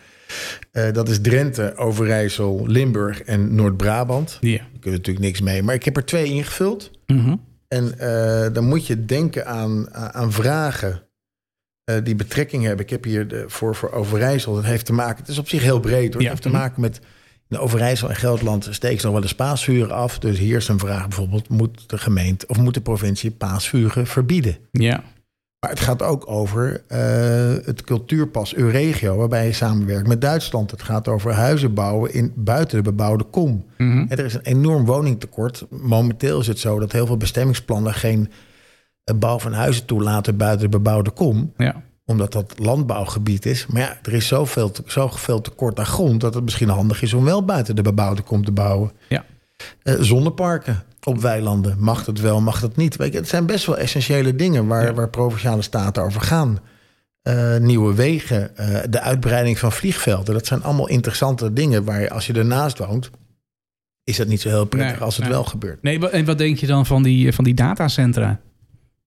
Speaker 3: Eh, dat is Drenthe, Overijssel, Limburg en Noord-Brabant.
Speaker 2: Ja.
Speaker 3: Daar kunnen we natuurlijk niks mee. Maar ik heb er twee ingevuld...
Speaker 2: Mhm.
Speaker 3: En eh, dan moet je denken aan, aan vragen eh, die betrekking hebben. Ik heb hier de, voor, voor Overijssel, dat heeft te maken... Het is op zich heel breed hoor.
Speaker 2: Ja.
Speaker 3: Het heeft te maken met... In Overijssel en Gelderland steken ze nog wel eens paasvuren af. Dus hier is een vraag bijvoorbeeld... moet de gemeente of moet de provincie paasvuren verbieden?
Speaker 2: Ja.
Speaker 3: Maar het gaat ook over eh, het cultuurpas Euregio... waarbij je samenwerkt met Duitsland. Het gaat over huizen bouwen in, buiten de bebouwde kom.
Speaker 2: Mhm.
Speaker 3: Ja, Er is een enorm woningtekort. Momenteel is het zo dat heel veel bestemmingsplannen geen eh, bouw van huizen toelaten buiten de bebouwde kom,
Speaker 2: Ja.
Speaker 3: omdat dat landbouwgebied is. Maar ja, er is zoveel, te- zoveel tekort aan grond dat het misschien handig is om wel buiten de bebouwde kom te bouwen.
Speaker 2: Ja.
Speaker 3: Eh, zonneparken op weilanden, mag dat wel, mag dat niet? Weet je, het zijn best wel essentiële dingen waar,
Speaker 2: Ja.
Speaker 3: waar provinciale staten over gaan. Eh, nieuwe wegen, eh, de uitbreiding van vliegvelden, dat zijn allemaal interessante dingen waar je, als je ernaast woont, is dat niet zo heel prettig
Speaker 2: Nee,
Speaker 3: als het
Speaker 2: nee.
Speaker 3: wel gebeurt.
Speaker 2: Nee, wa- en wat denk je dan van die, eh, van die datacentra?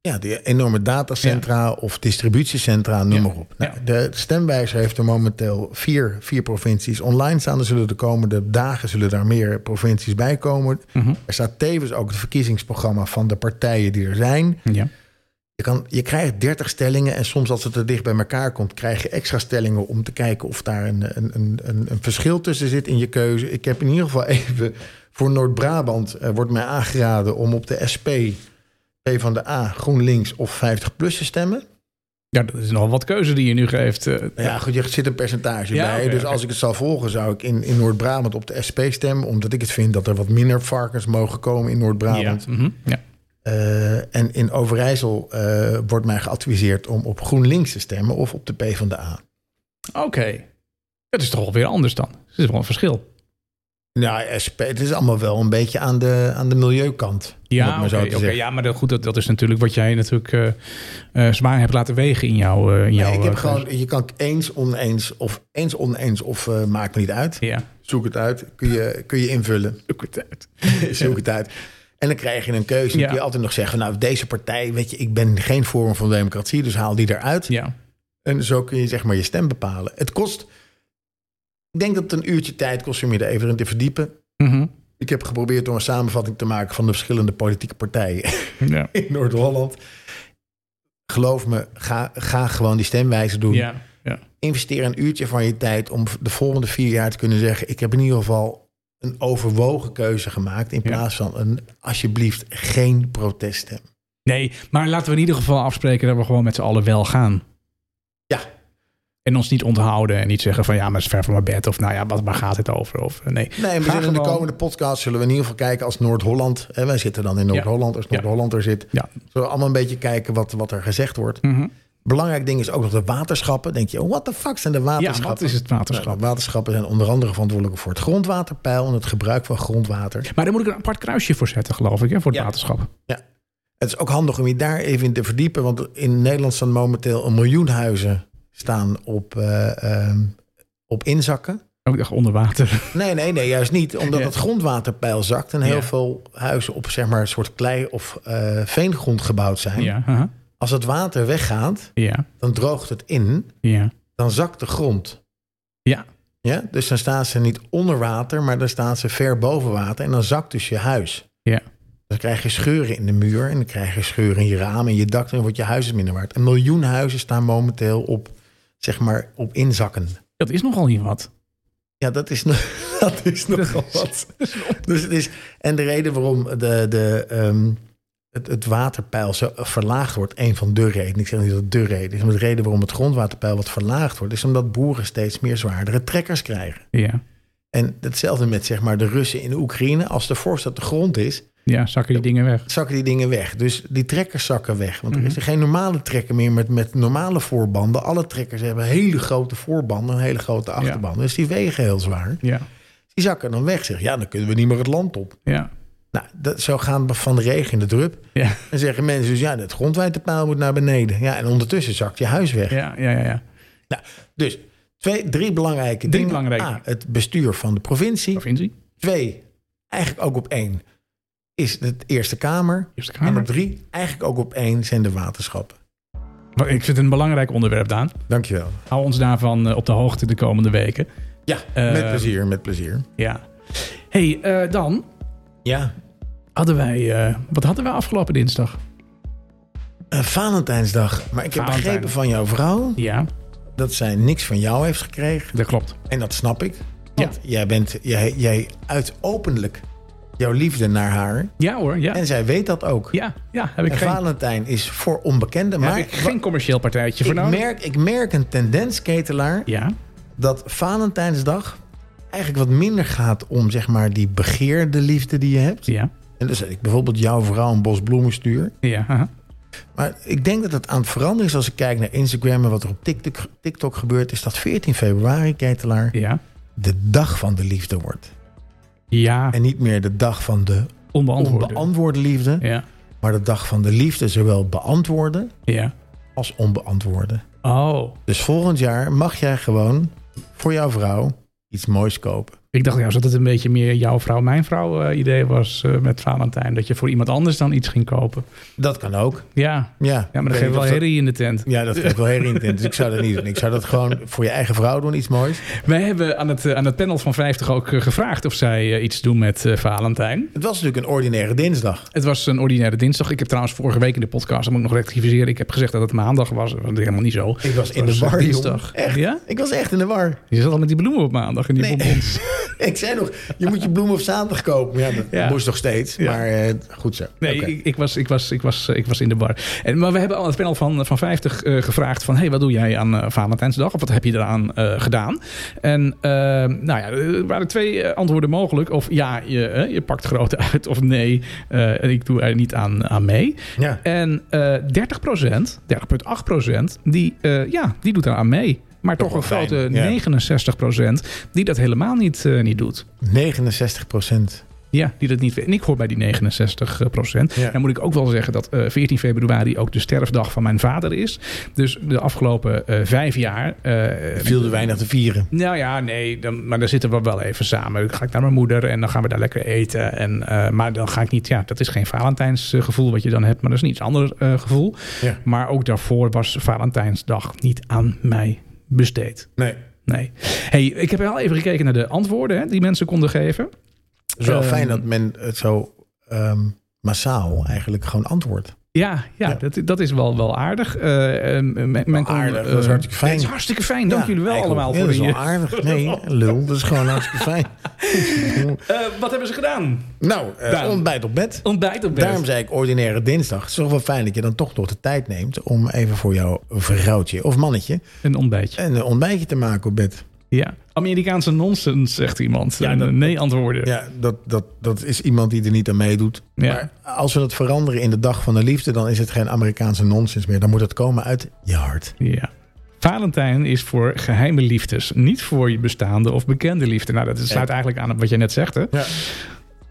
Speaker 3: Ja, die enorme datacentra of distributiecentra, noem
Speaker 2: Ja.
Speaker 3: maar op. Nou,
Speaker 2: Ja.
Speaker 3: De stemwijzer heeft er momenteel vier, vier provincies online staan. Er zullen de komende dagen zullen daar meer provincies bij komen.
Speaker 2: Mhm.
Speaker 3: Er staat tevens ook het verkiezingsprogramma van de partijen die er zijn.
Speaker 2: Ja.
Speaker 3: Je, kan, je krijgt 30 stellingen en soms als het er dicht bij elkaar komt... krijg je extra stellingen om te kijken of daar een, een, een, een, een verschil tussen zit in je keuze. Ik heb in ieder geval even voor Noord-Brabant... eh, wordt mij aangeraden om op de SP, P van de A, GroenLinks of 50PLUS te stemmen.
Speaker 2: Ja, dat is nogal wat keuze die je nu geeft. eh.
Speaker 3: Nou Ja, goed, je zit een percentage
Speaker 2: Ja,
Speaker 3: bij.
Speaker 2: oké,
Speaker 3: dus
Speaker 2: oké.
Speaker 3: als ik het zou volgen, zou ik in, in Noord-Brabant op de SP stemmen. Omdat ik het vind dat er wat minder varkens mogen komen in Noord-Brabant.
Speaker 2: Mhm, ja.
Speaker 3: Eh, en in Overijssel eh, wordt mij geadviseerd om op GroenLinks te stemmen of op de PvdA.
Speaker 2: Oké. Dat is toch wel weer anders dan. Er is wel een verschil.
Speaker 3: Nou, SP, het is allemaal wel een beetje aan de, aan de milieukant. om het
Speaker 2: Ja,
Speaker 3: maar zo
Speaker 2: oké,
Speaker 3: te
Speaker 2: oké,
Speaker 3: zeggen.
Speaker 2: ja maar dat, goed, dat, dat is natuurlijk wat jij natuurlijk eh, eh, zwaar hebt laten wegen in jouw... eh, in jouw
Speaker 3: Nee, ik heb
Speaker 2: eh,
Speaker 3: gewoon, je kan eens oneens of eens oneens of eh, maakt me niet uit.
Speaker 2: Ja.
Speaker 3: Zoek het uit, kun je, kun je invullen.
Speaker 2: Zoek het uit.
Speaker 3: Zoek het uit. En dan krijg je een keuze. Dan
Speaker 2: Ja.
Speaker 3: kun je altijd nog zeggen, nou, deze partij, weet je, ik ben geen vorm van democratie, dus haal die eruit.
Speaker 2: Ja.
Speaker 3: En zo kun je zeg maar je stem bepalen. Het kost, ik denk dat het een uurtje tijd kost om je er even in te verdiepen.
Speaker 2: Mhm.
Speaker 3: Ik heb geprobeerd om een samenvatting te maken van de verschillende politieke partijen
Speaker 2: ja.
Speaker 3: in Noord-Holland. Geloof me, ga, ga gewoon die stemwijze doen.
Speaker 2: Ja. Ja.
Speaker 3: Investeer een uurtje van je tijd om de volgende vier jaar te kunnen zeggen... ik heb in ieder geval een overwogen keuze gemaakt... in
Speaker 2: Ja.
Speaker 3: plaats van een alsjeblieft geen proteststem.
Speaker 2: Nee, maar laten we in ieder geval afspreken dat we gewoon met z'n allen wel gaan.
Speaker 3: Ja.
Speaker 2: En ons niet onthouden en niet zeggen van ja, maar het is ver van mijn bed. Of nou ja, wat, waar gaat het over? Of eh, nee.
Speaker 3: Nee, we
Speaker 2: Ga
Speaker 3: zullen in de
Speaker 2: gewoon-
Speaker 3: komende podcast zullen we in ieder geval kijken als Noord-Holland. En wij zitten dan in Noord-Holland, als
Speaker 2: Ja.
Speaker 3: Noord-Holland er zit.
Speaker 2: Ja.
Speaker 3: Zullen we allemaal een beetje kijken wat, wat er gezegd wordt.
Speaker 2: Mhm.
Speaker 3: Belangrijk ding is ook nog de waterschappen. Denk je, what the fuck zijn de
Speaker 2: Ja,
Speaker 3: waterschappen?
Speaker 2: wat is het waterschap?
Speaker 3: Nou, de waterschappen zijn onder andere verantwoordelijk voor het grondwaterpeil en het gebruik van grondwater.
Speaker 2: Maar daar moet ik een apart kruisje voor zetten, geloof ik, hè, voor het
Speaker 3: Ja.
Speaker 2: waterschap.
Speaker 3: Ja. Het is ook handig om je daar even in te verdiepen, want in Nederland staan momenteel een miljoen huizen staan op, eh, ehm, op inzakken.
Speaker 2: Ook echt onder water.
Speaker 3: Nee, nee, nee, juist niet. Omdat
Speaker 2: Ja.
Speaker 3: het grondwaterpeil zakt en heel
Speaker 2: Ja.
Speaker 3: veel huizen op zeg maar, een soort klei- of eh, veengrond gebouwd zijn.
Speaker 2: Ja, aha.
Speaker 3: Als het water weggaat,
Speaker 2: ja,
Speaker 3: dan droogt het in,
Speaker 2: ja.
Speaker 3: dan zakt de grond.
Speaker 2: Ja.
Speaker 3: Ja? Dus dan staan ze niet onder water, maar dan staan ze ver boven water en dan zakt dus je huis.
Speaker 2: Ja.
Speaker 3: Dan krijg je scheuren in de muur en dan krijg je scheuren in je ramen en je dak en dan wordt je huis minder waard. Een miljoen huizen staan momenteel op, zeg maar, op inzakken.
Speaker 2: Dat is nogal niet wat.
Speaker 3: Ja, dat is, nog- dat is nogal wat. Dus het is, en de reden waarom de, de, ehm, het, het waterpeil zo verlaagd wordt, een van de redenen, ik zeg niet dat het de reden is, maar de reden waarom het grondwaterpeil wat verlaagd wordt, is omdat boeren steeds meer zwaardere trekkers krijgen.
Speaker 2: Ja,
Speaker 3: En hetzelfde met zeg maar, de Russen in Oekraïne. Als de vorst op de grond is,
Speaker 2: ja zakken die dingen weg.
Speaker 3: zakken die dingen weg. Dus die trekkers zakken weg. Want er is er geen normale trekker meer met, met normale voorbanden. Alle trekkers hebben hele grote voorbanden en hele grote achterbanden. Dus die wegen heel zwaar.
Speaker 2: Ja,
Speaker 3: Die zakken dan weg. Zeg, ja, dan kunnen we niet meer het land op.
Speaker 2: ja,
Speaker 3: Nou, dat, zo gaan we van de regen in de drup.
Speaker 2: ja,
Speaker 3: En zeggen mensen dus, ja, het grondwaterpeil moet naar beneden. Ja, en ondertussen zakt je huis weg.
Speaker 2: ja, ja, ja. ja.
Speaker 3: Nou, dus twee, drie belangrijke
Speaker 2: Drie
Speaker 3: dingen.
Speaker 2: belangrijke.
Speaker 3: A, het bestuur van de provincie.
Speaker 2: Provincie,
Speaker 3: Twee, eigenlijk ook op één, is het Eerste Kamer.
Speaker 2: Eerste
Speaker 3: En
Speaker 2: Kamer.
Speaker 3: op drie, eigenlijk ook op één, zijn de waterschappen.
Speaker 2: Maar ik vind het een belangrijk onderwerp, Daan.
Speaker 3: Dankjewel.
Speaker 2: Hou ons daarvan eh, op de hoogte de komende weken.
Speaker 3: Ja,
Speaker 2: Eh,
Speaker 3: met plezier, met plezier.
Speaker 2: Ja. hey, eh, dan
Speaker 3: Ja.
Speaker 2: hadden wij... eh, wat hadden wij afgelopen dinsdag?
Speaker 3: Eh, Valentijnsdag. Maar ik heb
Speaker 2: Valentijn.
Speaker 3: begrepen van jouw vrouw
Speaker 2: Ja,
Speaker 3: dat zij niks van jou heeft gekregen.
Speaker 2: dat klopt.
Speaker 3: En dat snap ik. Want jij, bent, jij, jij uit openlijk jouw liefde naar haar.
Speaker 2: Ja hoor, ja.
Speaker 3: En zij weet dat ook.
Speaker 2: Ja, ja, heb ik
Speaker 3: En
Speaker 2: geen,
Speaker 3: Valentijn is voor onbekenden. Maar
Speaker 2: heb ik geen commercieel partijtje
Speaker 3: ik,
Speaker 2: voor nodig.
Speaker 3: merk, ik merk een tendens, ketelaar,
Speaker 2: Ja,
Speaker 3: dat Valentijnsdag eigenlijk wat minder gaat om zeg maar, die begeerde liefde die je hebt.
Speaker 2: ja,
Speaker 3: En dus dat ik bijvoorbeeld jouw vrouw een bos bloemen stuur.
Speaker 2: ja. aha.
Speaker 3: Maar ik denk dat het aan het veranderen is als ik kijk naar Instagram en wat er op TikTok, TikTok gebeurt. Is dat 14 februari, ketelaar,
Speaker 2: Ja,
Speaker 3: de dag van de liefde wordt.
Speaker 2: ja
Speaker 3: En niet meer de dag van de
Speaker 2: onbeantwoord.
Speaker 3: onbeantwoorde liefde,
Speaker 2: Ja,
Speaker 3: maar de dag van de liefde zowel beantwoorden
Speaker 2: ja.
Speaker 3: als onbeantwoorden.
Speaker 2: Oh,
Speaker 3: Dus volgend jaar mag jij gewoon voor jouw vrouw iets moois kopen.
Speaker 2: ik dacht juist dat het een beetje meer jouw vrouw, mijn vrouw eh, idee was eh, met Valentijn. Dat je voor iemand anders dan iets ging kopen.
Speaker 3: Dat kan ook.
Speaker 2: Ja,
Speaker 3: Ja,
Speaker 2: ja maar dan
Speaker 3: Ik weet
Speaker 2: geef
Speaker 3: niet
Speaker 2: wel
Speaker 3: of dat-
Speaker 2: herrie in de tent.
Speaker 3: Ja, dat geeft wel herinnering. Dus ik zou dat niet doen. Ik zou dat gewoon voor je eigen vrouw doen, iets moois.
Speaker 2: Wij hebben aan het, eh, aan het panel van 50 ook eh, gevraagd of zij eh, iets doen met eh, Valentijn.
Speaker 3: Het was natuurlijk een ordinaire dinsdag.
Speaker 2: Het was een ordinaire dinsdag. Ik heb trouwens vorige week in de podcast, dat moet ik nog rectificeren. Ik heb gezegd dat het maandag was. Dat was helemaal niet zo.
Speaker 3: Ik was in
Speaker 2: Het
Speaker 3: de
Speaker 2: was, eh,
Speaker 3: war,
Speaker 2: dinsdag.
Speaker 3: Echt?
Speaker 2: Ja?
Speaker 3: Ik was echt in de war.
Speaker 2: Je zat al met die bloemen op maandag en die
Speaker 3: Nee.
Speaker 2: bonbons.
Speaker 3: ik zei nog, je moet je bloemen op zaterdag kopen. Maar Ja, dat
Speaker 2: Ja.
Speaker 3: moest nog steeds.
Speaker 2: Ja.
Speaker 3: Maar eh, goed zo.
Speaker 2: Nee,
Speaker 3: Oké.
Speaker 2: ik, ik was, ik, was, ik, was, eh, ik was in de bar. En, maar we hebben al het panel van, van 50 eh, gevraagd van... hey, wat doe jij aan eh, Valentijnsdag? Of wat heb je eraan eh, gedaan? En eh, nou ja, er waren twee eh, antwoorden mogelijk. Of ja, je, eh, je pakt groot uit. Of nee, eh, ik doe er niet aan, aan mee.
Speaker 3: Ja.
Speaker 2: En eh 30%, 30,8% die, eh, ja, die doet eraan mee. Maar toch,
Speaker 3: wel
Speaker 2: een grote
Speaker 3: fijn, ja.
Speaker 2: 69% die dat helemaal niet, eh, niet doet.
Speaker 3: 69 procent.
Speaker 2: Ja, die dat niet weet. En ik hoor bij die 69 procent.
Speaker 3: Ja.
Speaker 2: Dan moet ik ook wel zeggen dat eh, 14 februari ook de sterfdag van mijn vader is. Dus de afgelopen eh, vijf jaar... eh,
Speaker 3: Viel er weinig te vieren.
Speaker 2: nou ja, nee, dan, maar dan zitten we wel even samen. Dan ga ik naar mijn moeder en dan gaan we daar lekker eten. En, eh, maar dan ga ik niet, ja, dat is geen Valentijnsgevoel wat je dan hebt, maar dat is een iets ander eh, gevoel.
Speaker 3: Ja.
Speaker 2: Maar ook daarvoor was Valentijnsdag niet aan mij besteed.
Speaker 3: Nee.
Speaker 2: Nee. hey, ik heb wel even gekeken naar de antwoorden hè, die mensen konden geven.
Speaker 3: Het is wel
Speaker 2: Ehm,
Speaker 3: fijn dat men het zo ehm, massaal eigenlijk gewoon antwoordt.
Speaker 2: Ja, ja,
Speaker 3: Ja.
Speaker 2: Dat, dat is wel, wel aardig. Eh, eh, men- men kon,
Speaker 3: aardig, dat is
Speaker 2: eh,
Speaker 3: hartstikke fijn.
Speaker 2: Het is hartstikke fijn. Dank
Speaker 3: Ja,
Speaker 2: jullie wel
Speaker 3: eigenlijk
Speaker 2: allemaal
Speaker 3: Ja,
Speaker 2: voor eh,
Speaker 3: dat
Speaker 2: je.
Speaker 3: is wel aardig. Nee, lul. Dat is gewoon hartstikke fijn.
Speaker 2: Eh, wat hebben ze gedaan?
Speaker 3: nou, eh,
Speaker 2: Daarom.
Speaker 3: ontbijt op bed.
Speaker 2: Ontbijt op bed.
Speaker 3: Daarom zei ik ordinaire dinsdag. Het is toch wel fijn dat je dan toch nog de tijd neemt... om even voor jouw vrouwtje of mannetje...
Speaker 2: Een ontbijtje.
Speaker 3: een ontbijtje te maken op bed.
Speaker 2: Ja. Amerikaanse nonsens, zegt iemand. En, eh, nee antwoorden.
Speaker 3: Ja, dat, dat, dat is iemand die er niet aan meedoet.
Speaker 2: Ja.
Speaker 3: Maar als we dat veranderen in de dag van de liefde... dan is het geen Amerikaanse nonsens meer. Dan moet het komen uit je hart.
Speaker 2: Ja. Valentijn is voor geheime liefdes, niet voor je bestaande of bekende liefde. Nou, dat sluit eigenlijk aan op wat je net zegt, hè?
Speaker 3: Ja.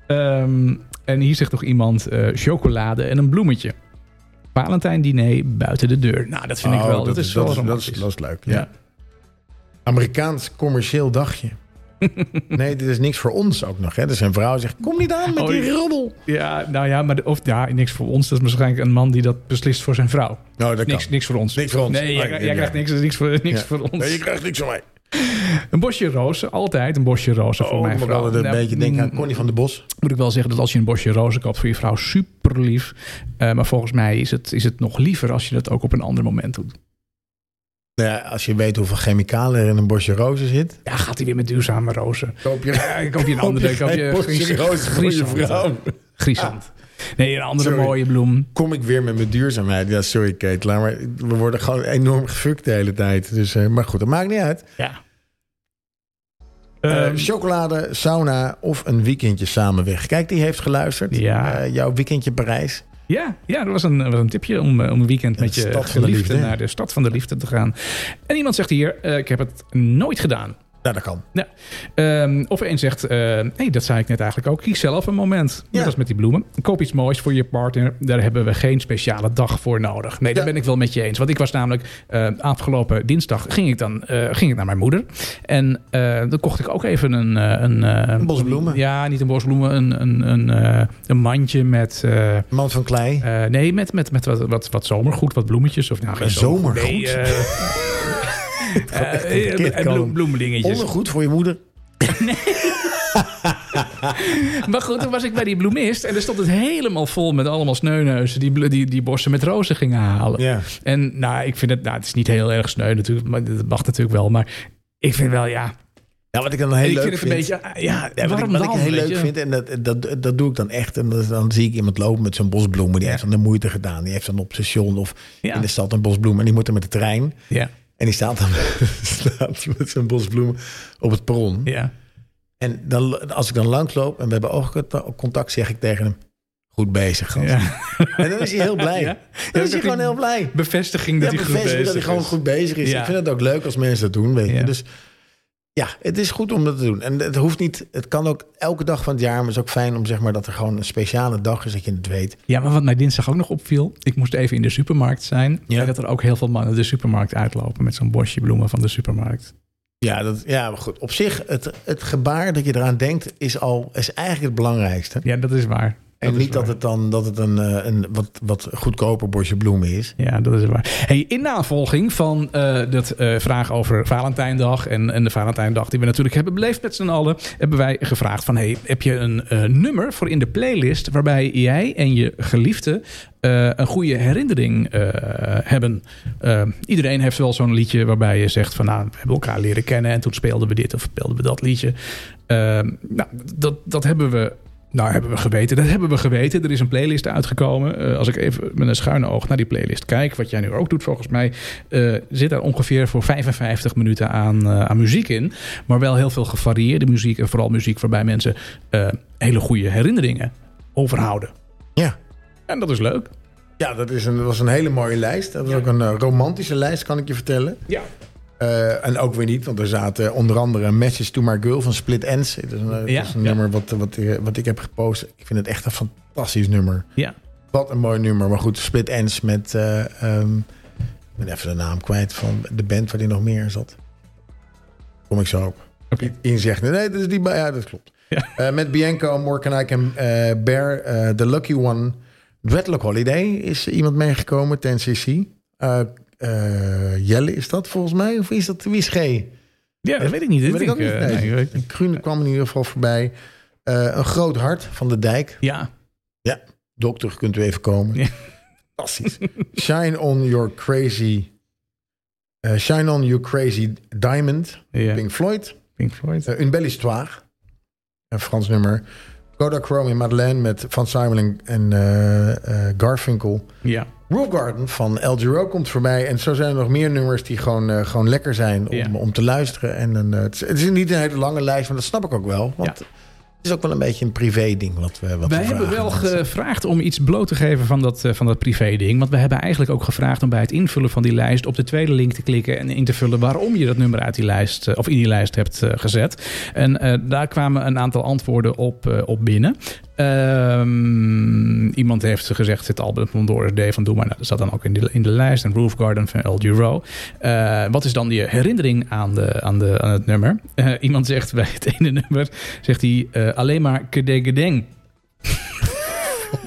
Speaker 2: Ehm, en hier zegt nog iemand eh, chocolade en een bloemetje. Valentijn diner buiten de deur. Nou, dat vind ik
Speaker 3: Oh,
Speaker 2: wel. Dat, is wel
Speaker 3: dat,
Speaker 2: romantisch.
Speaker 3: is, dat is leuk. Ja.
Speaker 2: Ja.
Speaker 3: Amerikaans commercieel dagje. nee, dit is niks voor ons ook nog. Hè. Dus zijn vrouw zegt, kom niet aan met
Speaker 2: Oh,
Speaker 3: die
Speaker 2: ja.
Speaker 3: roddel.
Speaker 2: Ja, nou ja, maar de- of ja, niks voor ons. Dat is waarschijnlijk een man die dat beslist voor zijn vrouw.
Speaker 3: Nou, dat
Speaker 2: Niks,
Speaker 3: kan.
Speaker 2: niks voor ons.
Speaker 3: Niks voor ons.
Speaker 2: Nee, jij,
Speaker 3: Oh, ja,
Speaker 2: jij
Speaker 3: ja.
Speaker 2: krijgt niks, dus niks, voor, niks
Speaker 3: Ja.
Speaker 2: voor ons.
Speaker 3: Nee, je krijgt niks van mij.
Speaker 2: Een bosje rozen, altijd een bosje rozen voor
Speaker 3: Oh,
Speaker 2: mijn
Speaker 3: maar
Speaker 2: vrouw.
Speaker 3: wel een
Speaker 2: Nou,
Speaker 3: beetje denken aan Connie van de Bos.
Speaker 2: Moet ik wel zeggen dat als je een bosje rozen koopt voor je vrouw, super lief. Eh, maar volgens mij is het, is het nog liever als je dat ook op een ander moment doet.
Speaker 3: Nou ja, als je weet hoeveel chemicalen er in een bosje rozen zit.
Speaker 2: Ja, gaat hij weer met duurzame rozen.
Speaker 3: Koop je,
Speaker 2: Ja, ik koop je een andere. Ik koop je
Speaker 3: bosje rozen voor je
Speaker 2: Griesant.
Speaker 3: vrouw. Ah.
Speaker 2: Griesant. Nee, een andere
Speaker 3: Sorry.
Speaker 2: mooie bloem.
Speaker 3: Kom ik weer met mijn duurzaamheid? Ja, sorry Kate, laat maar we worden gewoon enorm gefukt de hele tijd. Dus, eh, maar goed, dat maakt niet uit.
Speaker 2: Ja.
Speaker 3: Eh,
Speaker 2: Ehm,
Speaker 3: chocolade, sauna of een weekendje samen weg. Kijk, die heeft geluisterd.
Speaker 2: Ja.
Speaker 3: Eh, jouw weekendje Parijs.
Speaker 2: Ja, ja dat was een, was een tipje om, eh, om een weekend
Speaker 3: De
Speaker 2: met je
Speaker 3: stad van de
Speaker 2: geliefde
Speaker 3: liefde, hè?
Speaker 2: naar de stad van de liefde te gaan. En iemand zegt hier, eh, ik heb het nooit gedaan.
Speaker 3: Nou, dat kan.
Speaker 2: Nou, ehm, of één zegt, eh, nee, dat zei ik net eigenlijk ook. Kies zelf een moment. Net
Speaker 3: Ja.
Speaker 2: als met die bloemen. Koop iets moois voor je partner. Daar hebben we geen speciale dag voor nodig. Nee, daar
Speaker 3: Ja.
Speaker 2: ben ik wel met je eens. Want ik was namelijk eh, afgelopen dinsdag ging ik dan eh, ging ik naar mijn moeder. En eh, dan kocht ik ook even een... eh, een, eh,
Speaker 3: Een bos bloemen.
Speaker 2: Ja, niet een bos bloemen. Een, een, een, eh, een mandje met... eh,
Speaker 3: Man van Klei.
Speaker 2: eh, nee, met, met, met wat, wat, wat zomergoed, wat bloemetjes. Of, nou, geen
Speaker 3: Een zomergoed?
Speaker 2: Nee, eh, eh,
Speaker 3: een kind
Speaker 2: eh, bloem-
Speaker 3: komen.
Speaker 2: bloemdingetjes.
Speaker 3: Ondergoed voor je moeder.
Speaker 2: Maar goed, toen was ik bij die bloemist en er stond het helemaal vol met allemaal sneuneuzen die, blo- die, die bossen met rozen gingen halen.
Speaker 3: Ja.
Speaker 2: En nou, ik vind het, nou, het is niet heel erg sneu natuurlijk, maar dat mag natuurlijk wel. Maar ik vind wel, ja,
Speaker 3: Nou, wat ik dan heel
Speaker 2: ik
Speaker 3: leuk
Speaker 2: vind het een beetje, ah, ja,
Speaker 3: Ja, wat ik,
Speaker 2: waarom
Speaker 3: wat
Speaker 2: dan?
Speaker 3: ik heel
Speaker 2: weet
Speaker 3: leuk
Speaker 2: je?
Speaker 3: vind, en dat, dat, dat doe ik dan echt. En dat- dan zie ik iemand lopen met zo'n bosbloemen. Die heeft dan de moeite gedaan. Die heeft dan op station of
Speaker 2: Ja.
Speaker 3: in de stad een bosbloem. En die moet dan met de trein.
Speaker 2: Ja,
Speaker 3: En die staat dan staat met zijn bosbloemen op het perron.
Speaker 2: ja.
Speaker 3: En dan, als ik dan langsloop en we hebben oogcontact, zeg ik tegen hem... Goed bezig, gast.
Speaker 2: ja.
Speaker 3: En dan is hij heel blij.
Speaker 2: Ja.
Speaker 3: Dan
Speaker 2: Ja,
Speaker 3: is hij
Speaker 2: dat
Speaker 3: gewoon
Speaker 2: hij-
Speaker 3: heel blij.
Speaker 2: Bevestiging
Speaker 3: Ja,
Speaker 2: dat hij goed
Speaker 3: bevestiging
Speaker 2: bezig
Speaker 3: dat hij gewoon
Speaker 2: is.
Speaker 3: goed bezig is.
Speaker 2: Ja.
Speaker 3: Ik vind het ook leuk als mensen dat doen, weet je.
Speaker 2: Ja.
Speaker 3: Dus ja, het is goed om dat te doen. En het hoeft niet, het kan ook elke dag van het jaar, maar het is ook fijn om zeg maar dat er gewoon een speciale dag is dat je het weet.
Speaker 2: Ja, maar wat mij dinsdag ook nog opviel, ik moest even in de supermarkt zijn.
Speaker 3: Ja.
Speaker 2: En dat er ook heel veel mannen de supermarkt uitlopen met zo'n bosje bloemen van de supermarkt.
Speaker 3: Ja, dat, ja maar goed. Op zich, het, het gebaar dat je eraan denkt is al is eigenlijk het belangrijkste.
Speaker 2: Ja, dat is waar.
Speaker 3: En
Speaker 2: is
Speaker 3: niet dat
Speaker 2: waar.
Speaker 3: het dan dat het een, eh, een wat, wat goedkoper bosje bloemen is.
Speaker 2: Ja, dat is waar. Hey, in navolging van eh, dat eh, vraag over Valentijndag en, en de Valentijndag die we natuurlijk hebben beleefd met z'n allen, hebben wij gevraagd van, hey, heb je een eh, nummer voor in de playlist waarbij jij en je geliefde eh, een goede herinnering eh, hebben? Eh, iedereen heeft wel zo'n liedje waarbij je zegt van, nou, we hebben elkaar leren kennen en toen speelden we dit of speelden we dat liedje. Eh, nou, dat, dat hebben we nou, hebben we geweten. Dat hebben we geweten. Er is een playlist uitgekomen. Eh, als ik even met een schuine oog naar die playlist kijk, wat jij nu ook doet volgens mij, eh, zit daar ongeveer voor 55 minuten aan, eh, aan muziek in. Maar wel heel veel gevarieerde muziek. En vooral muziek waarbij mensen eh, hele goede herinneringen overhouden.
Speaker 3: Ja.
Speaker 2: En dat is leuk.
Speaker 3: Ja, dat, is een, dat was een hele mooie lijst. Dat was ook een eh, romantische lijst, kan ik je vertellen.
Speaker 2: Ja.
Speaker 3: Eh, en ook weer niet, want er zaten onder andere Message to My Girl van Split Ends. Dat is een, eh, dat
Speaker 2: Ja,
Speaker 3: is een
Speaker 2: ja.
Speaker 3: nummer wat, wat, eh, wat ik heb gepost. Ik vind het echt een fantastisch nummer.
Speaker 2: Ja.
Speaker 3: Wat een mooi nummer. Maar goed, Split Ends met... eh, ehm, ik ben even de naam kwijt van de band waar die nog meer in zat. Kom ik zo op.
Speaker 2: Oké.
Speaker 3: Ian zegt, nee, nee, dat is die... ba- Ja, dat klopt.
Speaker 2: Ja.
Speaker 3: Eh, met Bianco, More Can I Can eh, Bear, eh, The Lucky One. Dreadlock Holiday is iemand meegekomen, 10cc. Eh eh, Jelle is dat volgens mij, of is dat Wies G?
Speaker 2: Ja, dat weet ik niet.
Speaker 3: Dat
Speaker 2: Dit
Speaker 3: weet ik ook
Speaker 2: denk,
Speaker 3: niet.
Speaker 2: eh,
Speaker 3: Nee.
Speaker 2: nee, weet ik niet.
Speaker 3: Kruun kwam in ieder geval voorbij. Eh, een groot hart van de dijk.
Speaker 2: Ja,
Speaker 3: Dokter, kunt u even komen.
Speaker 2: Ja.
Speaker 3: Fantastisch. Shine on your crazy... eh, Shine on your crazy diamond.
Speaker 2: ja.
Speaker 3: Pink Floyd.
Speaker 2: Pink Floyd.
Speaker 3: Eh, Une belle histoire. Een Frans nummer. Kodachrome in Madeleine met Van Simon en- en eh, eh, Garfinkel.
Speaker 2: Ja,
Speaker 3: Roof Garden van El Giro komt voorbij. En zo zijn er nog meer nummers die gewoon, eh, gewoon lekker zijn om,
Speaker 2: Ja.
Speaker 3: om te luisteren. En een, eh, het, is, het is niet een hele lange lijst, maar dat snap ik ook wel. Want het is ook wel een beetje een privé ding wat we eh, wat
Speaker 2: Wij
Speaker 3: we
Speaker 2: hebben
Speaker 3: vragen.
Speaker 2: wel
Speaker 3: Want-
Speaker 2: gevraagd om iets bloot te geven van dat, eh, van dat privé-ding. Want we hebben eigenlijk ook gevraagd om bij het invullen van die lijst op de tweede link te klikken en in te vullen waarom je dat nummer uit die lijst, eh, of in die lijst hebt eh, gezet. En eh, daar kwamen een aantal antwoorden op, eh, op binnen. Ehm, iemand heeft gezegd: het album van Doris Day van Doe maar. Nou, dat zat dan ook in de, in de lijst. En Roof Garden van El Giro. Eh, wat is dan je herinnering aan, de, aan, de, aan het nummer? Eh, iemand zegt bij het ene nummer: zegt hij eh, alleen maar kedegedeng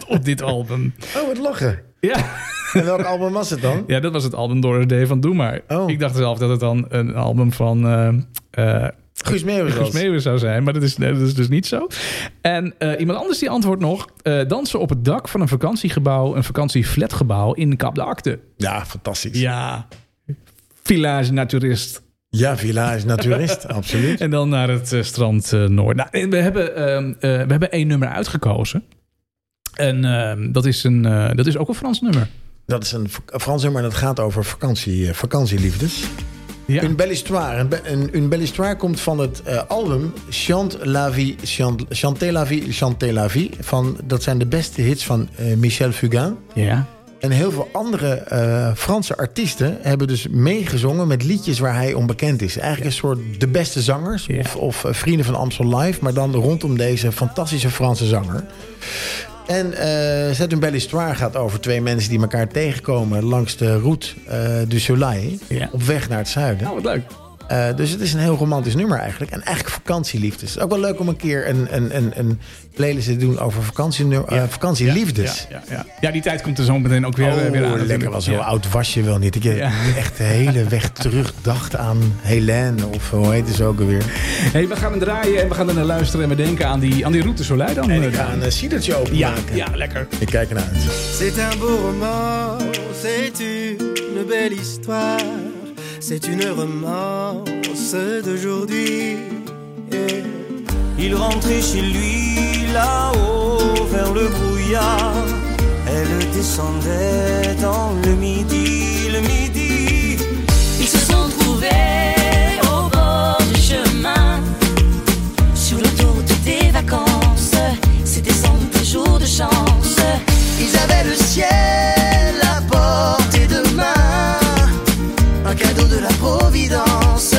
Speaker 2: op dit album.
Speaker 3: Oh, het lachen.
Speaker 2: Ja.
Speaker 3: En welk album was het dan?
Speaker 2: ja, dat was het album Doris Day van Doe maar.
Speaker 3: Oh.
Speaker 2: Ik dacht zelf dat het dan een album van eh, eh,
Speaker 3: Guus Meeuwis was.
Speaker 2: Guus Meeuwis zou zijn, maar dat is, nee, dat is dus niet zo. En eh, iemand anders die antwoordt nog... eh, dansen op het dak van een vakantiegebouw, een vakantieflatgebouw in Cap de Acte.
Speaker 3: Ja, fantastisch. Ja,
Speaker 2: Ja, village naturist.
Speaker 3: Villa is naturist, absoluut.
Speaker 2: En dan naar het eh, strand eh, Noord. Nou, en we, hebben, ehm, eh, we hebben één nummer uitgekozen. En ehm, dat, is een, eh, dat is ook een Frans nummer.
Speaker 3: Dat is een vak- een Frans nummer en dat gaat over vakantie, eh, vakantieliefdes.
Speaker 2: Ja.
Speaker 3: Une belle histoire. Een, be- een- une belle histoire komt van het eh, album Chant la vie, chant, Chantez la vie, Chantez la vie. Van, dat zijn de beste hits van eh, Michel Fugain.
Speaker 2: Ja.
Speaker 3: En heel veel andere eh, Franse artiesten hebben dus meegezongen met liedjes waar hij onbekend is. Eigenlijk een soort de beste zangers
Speaker 2: Ja.
Speaker 3: of, of eh, vrienden van Amstel Live, maar dan rondom deze fantastische Franse zanger. En eh Zet een belle histoire gaat over twee mensen die elkaar tegenkomen langs de route eh, du Soleil
Speaker 2: Ja.
Speaker 3: op weg naar het zuiden.
Speaker 2: Nou, wat leuk.
Speaker 3: Eh, dus het is een heel romantisch nummer eigenlijk. En eigenlijk vakantieliefdes. Het is ook wel leuk om een keer een, een, een, een playlist te doen over vakantienummer- eh, vakantieliefdes.
Speaker 2: Ja, ja, ja. ja, die tijd komt er zo meteen ook weer, eh, weer aan.
Speaker 3: Oh, lekker
Speaker 2: natuurlijk.
Speaker 3: was. Zo
Speaker 2: Ja.
Speaker 3: oud was je wel niet. Ik heb
Speaker 2: Ja.
Speaker 3: echt de hele weg terug dacht aan Helene of hoe heet ze ook alweer.
Speaker 2: Hey, we gaan hem draaien en we gaan er naar luisteren en we denken aan die, aan die route Soleil dan.
Speaker 3: En
Speaker 2: eh,
Speaker 3: ik ga
Speaker 2: Daan.
Speaker 3: een sidertje
Speaker 2: ja,
Speaker 3: openmaken.
Speaker 2: ja, lekker.
Speaker 3: Ik kijk ernaar uit.
Speaker 4: C'est un beau roman, c'est une belle histoire, c'est une romance d'aujourd'hui. Et Il rentrait chez lui là-haut vers le brouillard, elle descendait dans le midi, le midi.
Speaker 5: Ils se sont trouvés au bord du chemin, sur l'autoroute des vacances. C'était sans doute un jour de chance.
Speaker 4: Ils avaient le ciel à portée de main, un cadeau de la Providence.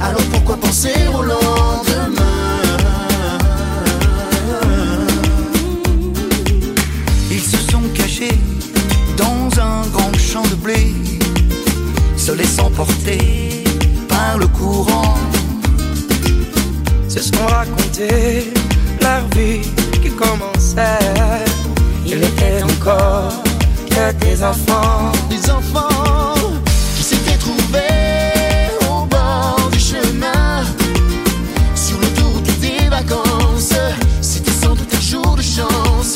Speaker 4: Alors pourquoi penser au lendemain Ils se sont cachés dans un grand champ de blé, se laissant porter par le courant. C'est ce qu'on racontait, la vie qui commençait. des enfants
Speaker 6: des enfants qui s'étaient trouvés au bord du chemin.
Speaker 4: sur l'autoroute des vacances. C'était sans doute un jour de chance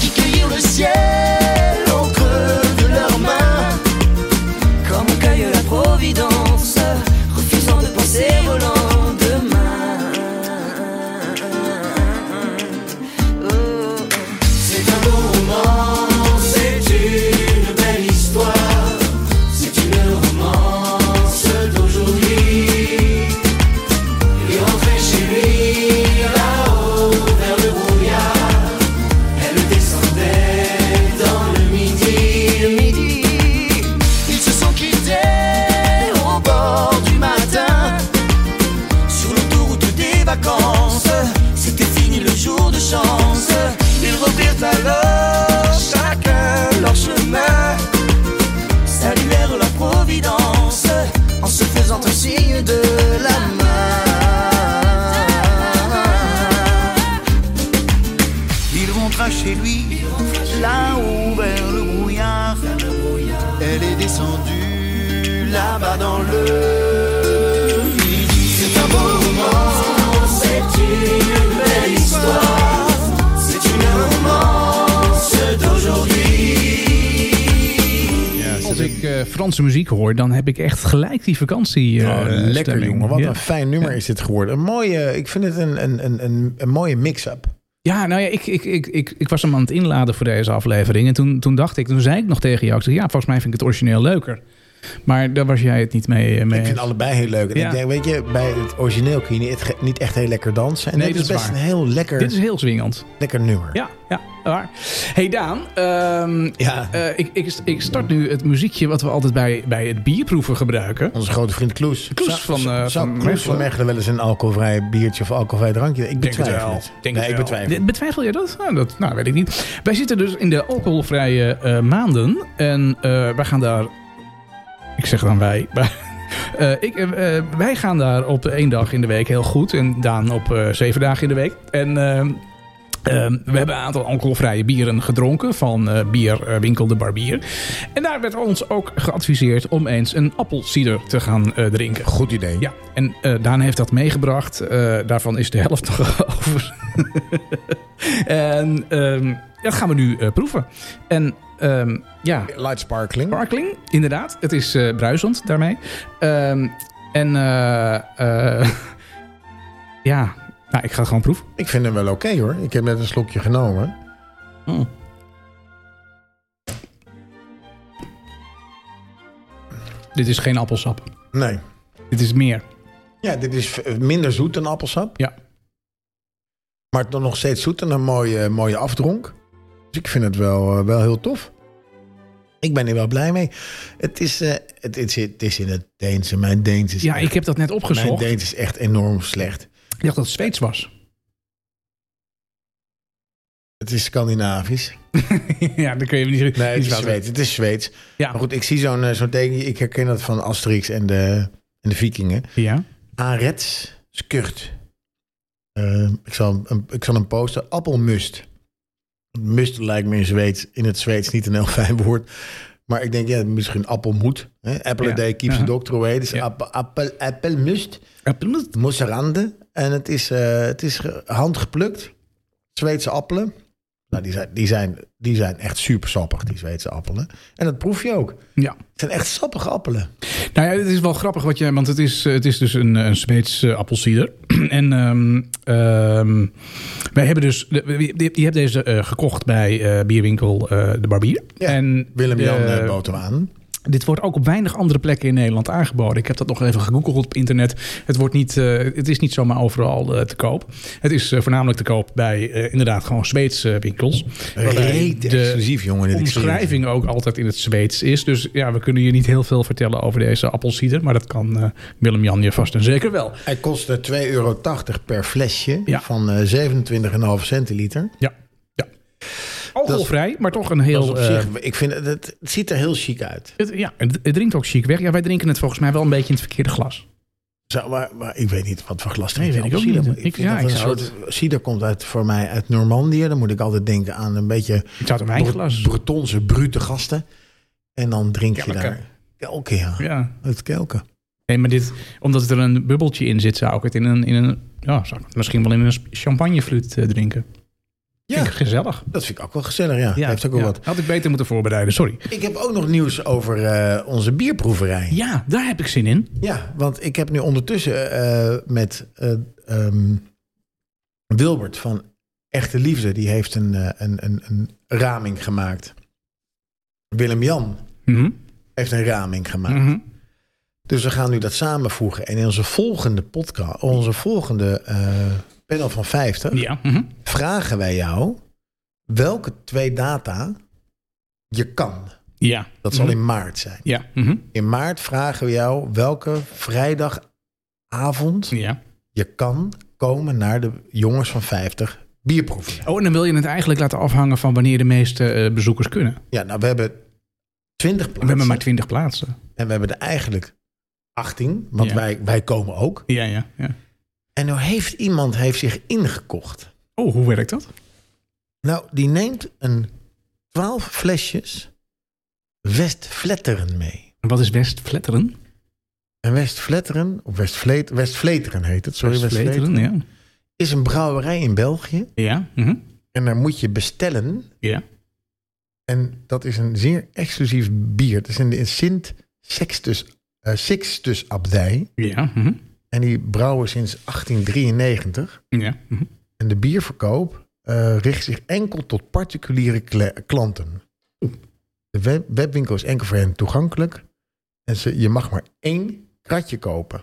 Speaker 4: qui cueillirent le ciel au creux de leurs mains.
Speaker 5: Comme on cueille la providence, refusant de penser au lendemain. Oh.
Speaker 4: C'est un beau roman, c'est une belle histoire. C'est une romance d'aujourd'hui. Il rentrait chez lui, là-haut, vers le brouillard. Elle descendait dans le midi. Ils se sont quittés au bord du matin. Sur l'autoroute des vacances, c'était fini le jour de chance. Ils reprirent alors chacun leur chemin, saluèrent la providence en se faisant un signe de la main.
Speaker 6: Il rentra chez lui, là-haut vers le brouillard. Elle est descendue là-bas dans le midi. C'est un beau
Speaker 4: C'est une belle histoire, c'est une romance d'aujourd'hui.
Speaker 2: Als ik eh, Franse muziek hoor, dan heb ik echt gelijk die vakantie. eh,
Speaker 3: Oh, lekker
Speaker 2: stemming.
Speaker 3: jongen, wat
Speaker 2: ja.
Speaker 3: een fijn nummer is dit geworden. Een mooie, ik vind het een, een, een, een, een mooie mix-up.
Speaker 2: Ja, nou ja, ik, ik, ik, ik, ik was hem aan het inladen voor deze aflevering. En toen, toen dacht ik, toen zei ik nog tegen jou, ik zeg, ja, volgens mij vind ik het origineel leuker. Maar daar was jij het niet mee. eh, mee.
Speaker 3: Ik vind allebei heel leuk. En
Speaker 2: Ja.
Speaker 3: ik denk, weet je, bij het origineel kun je niet echt, niet echt heel lekker dansen. En
Speaker 2: Nee,
Speaker 3: dit
Speaker 2: dat
Speaker 3: is
Speaker 2: is
Speaker 3: best
Speaker 2: waar.
Speaker 3: een heel lekker,
Speaker 2: Dit is heel zwingend.
Speaker 3: lekker nummer.
Speaker 2: Ja, ja, waar. Hey Daan, ehm,
Speaker 3: Ja.
Speaker 2: eh, ik, ik, ik start nu het muziekje wat we altijd bij, bij het bierproeven gebruiken.
Speaker 3: Onze grote vriend Kloes.
Speaker 2: Kloes
Speaker 3: Zou-
Speaker 2: van, eh,
Speaker 3: zou- zou
Speaker 2: van
Speaker 3: Kloes van
Speaker 2: Mechelen.
Speaker 3: Mechelen wel eens een alcoholvrij biertje of alcoholvrij drankje? Ik
Speaker 2: Denk het
Speaker 3: betwijfel
Speaker 2: wel.
Speaker 3: het.
Speaker 2: Denk het
Speaker 3: nee, ik
Speaker 2: wel.
Speaker 3: betwijfel
Speaker 2: Dit-
Speaker 3: het.
Speaker 2: Betwijfel je dat? Nou, dat? nou, weet ik niet. Wij zitten dus in de alcoholvrije eh, maanden. En eh, wij gaan daar... Ik zeg dan wij. maar, eh, ik, eh, eh, wij gaan daar op één dag in de week heel goed. En Daan op eh, zeven dagen in de week. En... ehm, ehm, we hebben een aantal alcoholvrije bieren gedronken van eh, bierwinkel De Barbier. En daar werd ons ook geadviseerd om eens een appelsieder te gaan eh, drinken.
Speaker 3: Goed idee.
Speaker 2: Ja, en eh, Daan heeft dat meegebracht. Eh, daarvan is de helft nog over. en ehm, dat gaan we nu eh, proeven. En ehm, ja,
Speaker 3: Light sparkling.
Speaker 2: sparkling, inderdaad. Het is eh, bruisend daarmee. Ehm, en eh, eh, ja, nou, ik ga het gewoon proeven.
Speaker 3: Ik vind hem wel oké hoor. Ik heb net een slokje genomen.
Speaker 2: Dit is geen appelsap.
Speaker 3: Nee.
Speaker 2: Dit is meer.
Speaker 3: Ja, dit is eh, minder zoet dan appelsap.
Speaker 2: Ja.
Speaker 3: Maar dan nog steeds zoet en een mooie, mooie afdronk. Dus ik vind het wel, eh, wel heel tof. Ik ben er wel blij mee. Het is, eh, het, is, het is in het Deens. en Mijn Deens is,
Speaker 2: Ja,
Speaker 3: echt,
Speaker 2: ik heb dat net
Speaker 3: mijn
Speaker 2: opgezocht. Ik
Speaker 3: Deens is echt enorm slecht.
Speaker 2: dacht dat het Zweeds was.
Speaker 3: Het is Scandinavisch.
Speaker 2: ja, dan kun je me niet...
Speaker 3: Nee, het
Speaker 2: niet
Speaker 3: is
Speaker 2: fout doen.
Speaker 3: Zweeds. Het is Zweeds.
Speaker 2: Ja.
Speaker 3: Maar goed, ik zie zo'n eh, zo'n tekentje. Ik herken dat van Asterix en de, en de vikingen.
Speaker 2: Ja.
Speaker 3: Arets skurt. Eh, ik, zal, een- ik zal hem posten. Appelmust. Must lijkt me in, Zweeds, in het Zweeds niet een heel fijn woord. Maar ik denk, ja, misschien appelmoed. Hè? Apple
Speaker 2: Ja.
Speaker 3: a day keeps
Speaker 2: Ja.
Speaker 3: the doctor away. Dus
Speaker 2: Ja.
Speaker 3: appel, appel, appelmust.
Speaker 2: Appelmoes.
Speaker 3: Mosserande. En het is, eh, het is ge- handgeplukt. Zweedse appelen. Nou, die zijn, die zijn, die zijn echt super sappig, die Zweedse appelen. En dat proef je ook.
Speaker 2: Ja.
Speaker 3: Het zijn echt sappige appelen.
Speaker 2: Nou ja, het is wel grappig wat je. Want het is, het is dus een, een Zweeds eh, appelsieder. en ehm, ehm, wij hebben dus. de- Je je hebt deze eh, gekocht bij eh, bierwinkel eh, De Barbier.
Speaker 3: Ja,
Speaker 2: En
Speaker 3: Willem-Jan
Speaker 2: eh,
Speaker 3: uh, bood hem aan.
Speaker 2: dit wordt ook op weinig andere plekken in Nederland aangeboden. Ik heb dat nog even gegoogeld op internet. Het, wordt niet, eh, het is niet zomaar overal eh, te koop. Het is eh, voornamelijk te koop bij eh, inderdaad gewoon Zweedse eh, winkels. Waarbij
Speaker 3: Reet
Speaker 2: de
Speaker 3: exclusief, jongen. dit experiment.
Speaker 2: omschrijving ook altijd in het Zweeds is. Dus ja, we kunnen je niet heel veel vertellen over deze appelsieder. Maar dat kan eh, Willem-Jan je vast en zeker wel.
Speaker 3: Hij kostte 2,80 euro per flesje
Speaker 2: Ja.
Speaker 3: van eh 27,5 centiliter.
Speaker 2: Ja, ja. Alcoholvrij, maar toch een heel...
Speaker 3: Dat is op
Speaker 2: eh,
Speaker 3: zich, ik vind het, het het ziet er heel chic uit.
Speaker 2: het, ja, het, het drinkt ook chic weg. Ja, wij drinken het volgens mij wel een beetje in het verkeerde glas.
Speaker 3: Zou- maar, maar ik weet niet wat voor glas er
Speaker 2: Nee,
Speaker 3: in
Speaker 2: weet ik
Speaker 3: die
Speaker 2: ook
Speaker 3: cider-
Speaker 2: niet.
Speaker 3: maar
Speaker 2: Ik-
Speaker 3: vind
Speaker 2: ja,
Speaker 3: dat
Speaker 2: ik
Speaker 3: een
Speaker 2: zou
Speaker 3: soort cider komt uit voor mij uit Normandië. Dan moet ik altijd denken aan een beetje
Speaker 2: Ik zou het een wijnglas.
Speaker 3: Bretonse brute gasten. En dan drink je
Speaker 2: Kelken.
Speaker 3: daar kelken, ja.
Speaker 2: Ja.
Speaker 3: Uit kelken.
Speaker 2: Nee, maar dit, omdat het er een bubbeltje in zit, zou ik het in een, in een ja, zou ik het misschien wel in een sp- champagnefluit eh, drinken.
Speaker 3: Ja.
Speaker 2: Vind ik gezellig.
Speaker 3: Dat vind ik ook wel gezellig, ja.
Speaker 2: Ja,
Speaker 3: Dat heeft ook wel
Speaker 2: ja.
Speaker 3: wat.
Speaker 2: Had ik beter moeten voorbereiden, sorry.
Speaker 3: Ik heb ook nog nieuws over eh, onze bierproeverij.
Speaker 2: Ja, daar heb ik zin in.
Speaker 3: Ja, want ik heb nu ondertussen eh, met eh, ehm, Wilbert van Echte Liefde, die heeft een, eh, een, een, een raming gemaakt. Willem-Jan
Speaker 2: Mhm,
Speaker 3: heeft een raming gemaakt.
Speaker 2: mhm.
Speaker 3: Dus we gaan nu dat samenvoegen. En in onze volgende podcast, onze volgende eh, panel van 50,
Speaker 2: Ja. mhm.
Speaker 3: vragen wij jou welke twee data je kan.
Speaker 2: ja.
Speaker 3: Dat zal
Speaker 2: Mhm.
Speaker 3: in maart zijn.
Speaker 2: Ja. mhm.
Speaker 3: In maart vragen we jou welke vrijdagavond
Speaker 2: ja.
Speaker 3: je kan komen naar de jongens van 50 bierproeven.
Speaker 2: Oh, en dan wil je het eigenlijk laten afhangen van wanneer de meeste eh, bezoekers kunnen.
Speaker 3: Ja, nou, we hebben 20 plaatsen.
Speaker 2: We hebben maar 20 plaatsen.
Speaker 3: en we hebben er eigenlijk 18, want
Speaker 2: Ja.
Speaker 3: wij, wij komen ook.
Speaker 2: Ja, ja, ja.
Speaker 3: En nou heeft iemand heeft zich ingekocht.
Speaker 2: Oh, hoe werkt dat?
Speaker 3: Nou, die neemt een 12 flesjes Westfletteren mee.
Speaker 2: Wat is best flatteren?
Speaker 3: En Westfletteren, of Westvleet, Westfleteren heet het, sorry, Westfleteren,
Speaker 2: Flatteren, ja.
Speaker 3: is een brouwerij in België.
Speaker 2: Ja. mhm.
Speaker 3: En daar moet je bestellen
Speaker 2: Ja.
Speaker 3: En dat is een zeer exclusief bier. Het is in de Sint Sextus, eh, Sixtus Abdij.
Speaker 2: Ja. mhm.
Speaker 3: En die brouwen sinds 1893.
Speaker 2: Ja. mhm.
Speaker 3: En de bierverkoop eh, richt zich enkel tot particuliere kle- klanten. De web- webwinkel is enkel voor hen toegankelijk. En ze, je mag maar één kratje kopen.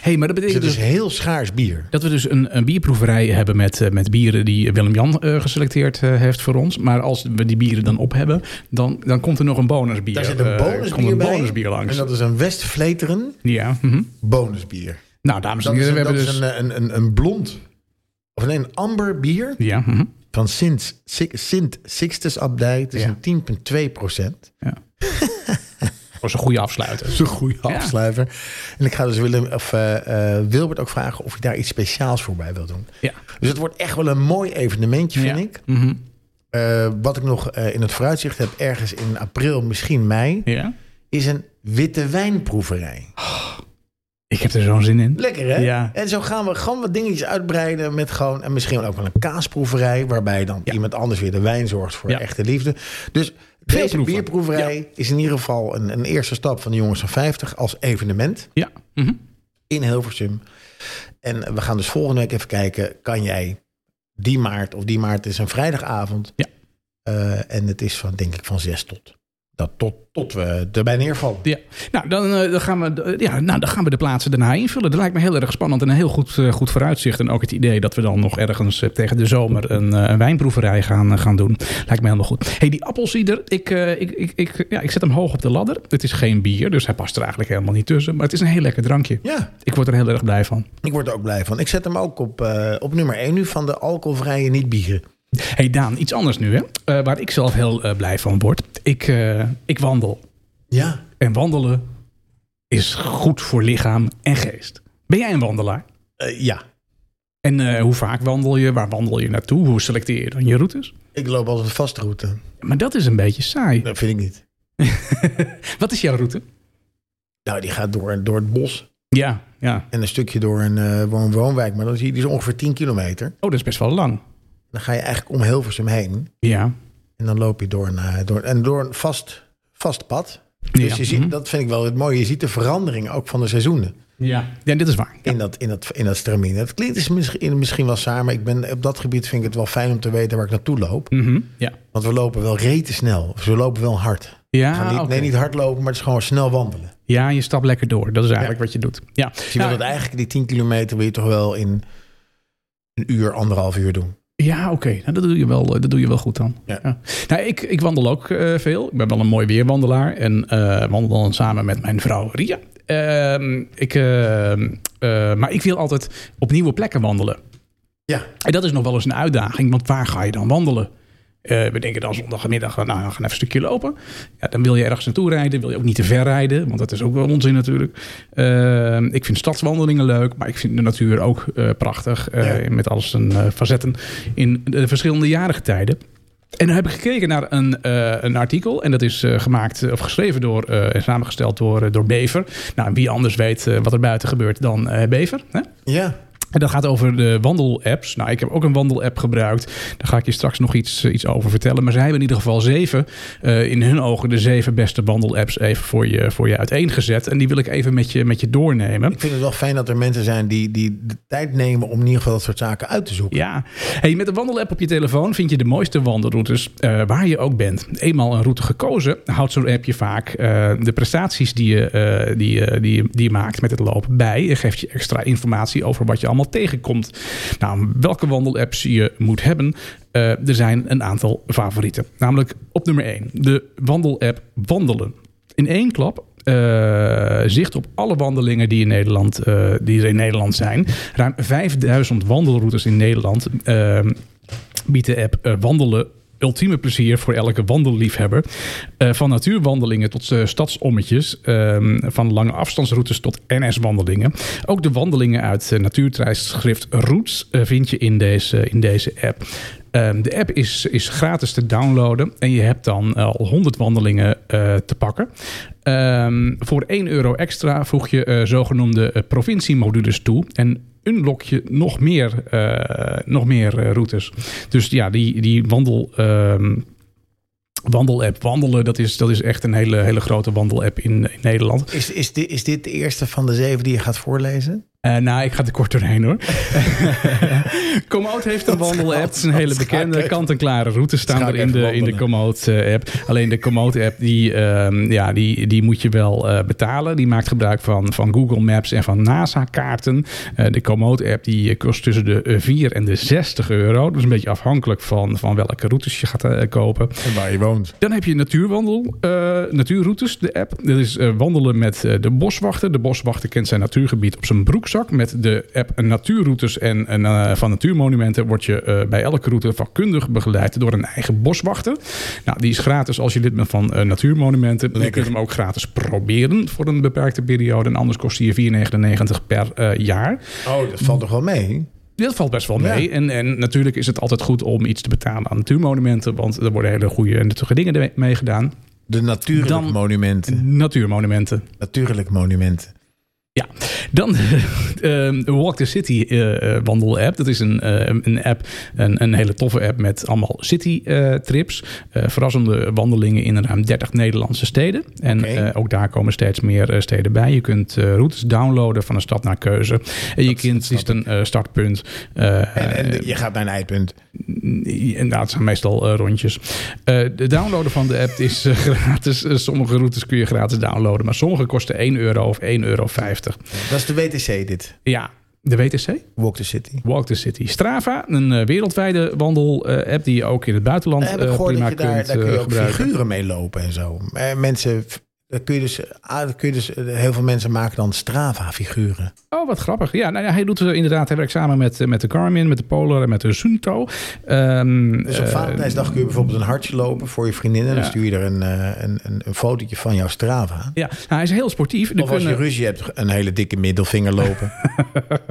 Speaker 2: hey, maar dat
Speaker 3: Dus
Speaker 2: betekent
Speaker 3: het
Speaker 2: dus
Speaker 3: is heel schaars bier.
Speaker 2: Dat we dus een, een bierproeverij hebben met, eh, met bieren die Willem-Jan eh, geselecteerd eh, heeft voor ons. Maar als we die bieren dan op hebben, dan, dan komt er nog een bonusbier.
Speaker 3: Daar zit een
Speaker 2: eh,
Speaker 3: bonusbier
Speaker 2: komt een
Speaker 3: bij.
Speaker 2: bonusbier langs.
Speaker 3: En dat is een Westfleteren
Speaker 2: Ja. mhm.
Speaker 3: bonusbier.
Speaker 2: Nou, dames en
Speaker 3: Dat is,
Speaker 2: heren,
Speaker 3: een,
Speaker 2: we
Speaker 3: dat
Speaker 2: hebben
Speaker 3: is
Speaker 2: dus...
Speaker 3: een, eh, een, een, een blond, of nee, een eh, amber bier.
Speaker 2: Ja, mhm.
Speaker 3: van Sint, Sik- Sint Sixtus Abdij. Het is
Speaker 2: Ja.
Speaker 3: een 10,2 procent.
Speaker 2: dat was een goede afsluiter.
Speaker 3: is een goede afsluiter. En ik ga dus Willem, of, eh, eh, Wilbert ook vragen of hij daar iets speciaals voor bij wil doen.
Speaker 2: Ja.
Speaker 3: Dus het wordt echt wel een mooi evenementje, vind
Speaker 2: Ja.
Speaker 3: ik.
Speaker 2: Mhm.
Speaker 3: Eh, wat ik nog eh, in het vooruitzicht heb, ergens in april, misschien mei,
Speaker 2: Ja.
Speaker 3: is een witte wijnproeverij.
Speaker 2: Ik heb er zo'n zin in.
Speaker 3: Lekker, hè?
Speaker 2: Ja.
Speaker 3: En zo gaan we gewoon wat dingetjes uitbreiden met gewoon... en misschien ook wel een kaasproeverij... waarbij dan
Speaker 2: Ja.
Speaker 3: iemand anders weer de wijn zorgt voor
Speaker 2: Ja.
Speaker 3: echte liefde. Dus deze
Speaker 2: proeven.
Speaker 3: bierproeverij is in ieder geval een, een eerste stap... van de jongens van 50 als evenement
Speaker 2: Ja. mhm.
Speaker 3: in Hilversum. En we gaan dus volgende week even kijken... kan jij die maart of die maart... het is een vrijdagavond...
Speaker 2: Ja.
Speaker 3: Eh, en het is van, denk ik, van 6 tot... Dat tot, tot we erbij neervallen.
Speaker 2: Ja, nou dan, eh, dan gaan we, eh, ja, nou dan gaan we de plaatsen daarna invullen. Dat lijkt me heel erg spannend en een heel goed, eh, goed vooruitzicht. En ook het idee dat we dan nog ergens eh, tegen de zomer een, eh, een wijnproeverij gaan, eh, gaan doen. Lijkt me helemaal goed. hey, die appelsieder, ik, eh, ik, ik, ik, ja, ik zet hem hoog op de ladder. Het is geen bier, dus hij past er eigenlijk helemaal niet tussen. Maar het is een heel lekker drankje.
Speaker 3: Ja,
Speaker 2: Ik word er heel erg blij van.
Speaker 3: ik word er ook blij van. Ik zet hem ook op, eh, op nummer 1 nu van de alcoholvrije niet-bieren.
Speaker 2: hey Daan, iets anders nu hè. Eh, waar ik zelf heel eh, blij van word. Ik, eh, ik wandel.
Speaker 3: Ja.
Speaker 2: En wandelen is goed voor lichaam en geest. Ben jij een wandelaar?
Speaker 3: Eh, ja.
Speaker 2: En eh, hoe vaak wandel je? Waar wandel je naartoe? Hoe selecteer je dan je routes?
Speaker 3: Ik loop altijd een vaste route.
Speaker 2: Maar dat is een beetje saai.
Speaker 3: Dat vind ik niet.
Speaker 2: Wat is jouw route?
Speaker 3: Nou, die gaat door, door het bos
Speaker 2: Ja, ja.
Speaker 3: en een stukje door een eh, woon woonwijk. Maar dan zie je, die is ongeveer 10 kilometer.
Speaker 2: Oh, dat is best wel lang.
Speaker 3: Dan ga je eigenlijk om Hilversum heen.
Speaker 2: Ja.
Speaker 3: En dan loop je door een, eh, door, en door een vast, vast pad. Dus
Speaker 2: Ja,
Speaker 3: je ziet,
Speaker 2: mhm.
Speaker 3: dat vind ik wel het mooie. Je ziet de verandering ook van de seizoenen
Speaker 2: Ja. Ja, dit is waar.
Speaker 3: in dat, in dat, in dat stramien. Het klinkt is misschien, misschien wel saai, maar ik ben, op dat gebied vind ik het wel fijn om te weten waar ik naartoe loop.
Speaker 2: Mhm. Ja.
Speaker 3: Want we lopen wel rete snel. Of we lopen wel hard.
Speaker 2: Ja,
Speaker 3: We gaan niet,
Speaker 2: Ah, oké.
Speaker 3: Nee, niet hard lopen, maar het is gewoon snel wandelen. Dus
Speaker 2: ja, je stapt lekker door. Dat is eigenlijk wat je doet. Ja.
Speaker 3: Je wil
Speaker 2: Nou,
Speaker 3: dat eigenlijk die 10 kilometer wil je toch wel in een uur, anderhalf uur doen.
Speaker 2: Ja, oké. Nou, dat, doe je wel, eh, dat doe je wel goed dan.
Speaker 3: Ja.
Speaker 2: Nou, ik, ik wandel ook eh, veel. Ik ben wel een mooi weerwandelaar. En eh, wandel dan samen met mijn vrouw Ria. Ehm, ik, eh, eh, maar ik wil altijd op nieuwe plekken wandelen.
Speaker 3: Ja,
Speaker 2: En dat is nog wel eens een uitdaging, want waar ga je dan wandelen? Eh, we denken dan zondagmiddag, nou, we gaan even een stukje lopen. Ja, dan wil je ergens naartoe rijden, wil je ook niet te ver rijden, want dat is ook wel onzin natuurlijk. Eh, ik vind stadswandelingen leuk, maar ik vind de natuur ook eh, prachtig, eh, met al zijn eh, facetten in de verschillende jarentijden. En dan heb ik gekeken naar een, eh, een artikel. En dat is eh, gemaakt eh, of geschreven door eh, en samengesteld door, eh, door Bever. Nou, wie anders weet eh, wat er buiten gebeurt dan eh, Bever. Hè?
Speaker 3: Ja.
Speaker 2: En dat gaat over de wandelapps. Nou, ik heb ook een wandelapp gebruikt. Daar ga ik je straks nog iets, eh, iets over vertellen. Maar zij hebben in ieder geval zeven, eh, in hun ogen, de zeven beste wandelapps even voor je, voor je uiteengezet. En die wil ik even met je, met je doornemen.
Speaker 3: Ik vind het wel fijn dat er mensen zijn die, die de tijd nemen om in ieder geval dat soort zaken uit te zoeken.
Speaker 2: Ja, hey, met de wandelapp op je telefoon vind je de mooiste wandelroutes eh, waar je ook bent. Eenmaal een route gekozen, houdt zo'n appje vaak eh, de prestaties die je, eh, die, je- die, je- die je maakt met het lopen bij. En geeft je extra informatie over wat je allemaal tegenkomt. Nou, welke wandelapps je moet hebben. eh, er zijn een aantal favorieten. Namelijk op nummer 1, de wandelapp Wandelen. In één klap eh, zicht op alle wandelingen die, in Nederland, eh, die er in Nederland zijn. Ruim 5000 wandelroutes in Nederland eh, biedt de app eh, Wandelen ultieme plezier voor elke wandelliefhebber. Eh, van natuurwandelingen tot eh, stadsommetjes, eh, van lange afstandsroutes tot NS-wandelingen. Ook de wandelingen uit eh, natuurtijdschrift Roots eh, vind je in deze, in deze app. Ehm, de app is, is gratis te downloaden en je hebt dan eh, al 100 wandelingen eh, te pakken. Ehm, voor 1 euro extra voeg je eh, zogenoemde eh, provinciemodules toe en unlock je nog meer, eh, nog meer eh, routes. Dus ja, die, die wandel... ehm, Wandelapp wandelen, dat is, dat is echt een hele, hele grote wandelapp in, in Nederland.
Speaker 3: Is, is, dit, is dit de eerste van de zeven die je gaat voorlezen?
Speaker 2: Eh, nou, ik ga er kort doorheen hoor. Komoot heeft een wandelapp. Het is een hele bekende kant-en-klare route
Speaker 3: ga
Speaker 2: staan
Speaker 3: ik
Speaker 2: er in
Speaker 3: even
Speaker 2: de, in de
Speaker 3: wandelen.
Speaker 2: Komoot-app. Alleen de Komoot-app, die, ehm, ja, die, die moet je wel eh, betalen. Die maakt gebruik van, van Google Maps en van NASA-kaarten. Eh, de Komoot-app die eh, kost tussen de eh, 4 en de 60 euro. Dus een beetje afhankelijk van, van welke routes je gaat eh, kopen.
Speaker 3: En waar je woont.
Speaker 2: Dan heb je natuurwandel, eh, natuurroutes, de app. Dat is eh, wandelen met eh, de boswachter. De boswachter kent zijn natuurgebied op zijn broekzak. Met de app Natuurroutes en en, eh, van Natuurmonumenten word je eh, bij elke route vakkundig begeleid door een eigen boswachter. Nou, die is gratis als je lid bent van eh, Natuurmonumenten. Je kunt hem ook gratis proberen voor een beperkte periode. En anders kost hij je 4,99 per eh, jaar.
Speaker 3: Oh, dat valt toch wel mee?
Speaker 2: Dit valt best wel mee.
Speaker 3: Ja.
Speaker 2: En, en natuurlijk is het altijd goed om iets te betalen aan natuurmonumenten. Want er worden hele goede en nuttige dingen ermee- mee gedaan.
Speaker 3: De natuurlijke
Speaker 2: Dan-
Speaker 3: monumenten.
Speaker 2: Natuurmonumenten.
Speaker 3: Natuurlijk monumenten.
Speaker 2: Ja, dan ehm, de Walk the City eh, eh, wandelapp. Dat is een, eh, een app, een, een hele toffe app met allemaal city eh, trips. Eh, verrassende wandelingen in ruim 30 Nederlandse steden. En
Speaker 3: Oké.
Speaker 2: eh, ook daar komen steeds meer eh, steden bij. Je kunt eh, routes downloaden van een stad naar keuze. En je kind is een eh, startpunt. Eh,
Speaker 3: En, en je gaat naar een eindpunt.
Speaker 2: Inderdaad, het zijn meestal eh, rondjes. Eh, de downloaden van de app is eh, gratis. Eh, sommige routes kun je gratis downloaden, maar sommige kosten 1 euro of 1,50 euro.
Speaker 3: Dat is de WTC dit.
Speaker 2: Ja, de WTC?
Speaker 3: Walk the City.
Speaker 2: Walk the City. Strava, een eh, wereldwijde wandel-app die je ook in het buitenland
Speaker 3: Daar heb ik
Speaker 2: eh,
Speaker 3: gehoord
Speaker 2: prima
Speaker 3: dat je daar,
Speaker 2: kunt
Speaker 3: daar kun je
Speaker 2: eh,
Speaker 3: ook
Speaker 2: gebruiken.
Speaker 3: figuren mee lopen en zo. Eh, mensen, daar kun je dus, ah, daar kun je dus eh, heel veel mensen maken dan Strava-figuren.
Speaker 2: Oh, wat grappig. Ja, nou ja, hij doet eh, inderdaad. Hij werkt samen met, eh, met de Garmin, met de Polar en met de Sunto. Ehm,
Speaker 3: Dus op
Speaker 2: eh,
Speaker 3: Valentijnsdag kun je bijvoorbeeld een hartje lopen voor je vriendin. En dan
Speaker 2: Ja.
Speaker 3: stuur je er een, eh, een, een, een fotootje van jouw Strava.
Speaker 2: ja, nou, hij is heel sportief. Er
Speaker 3: Of als je
Speaker 2: kunnen-
Speaker 3: ruzie hebt, een hele dikke middelvinger lopen.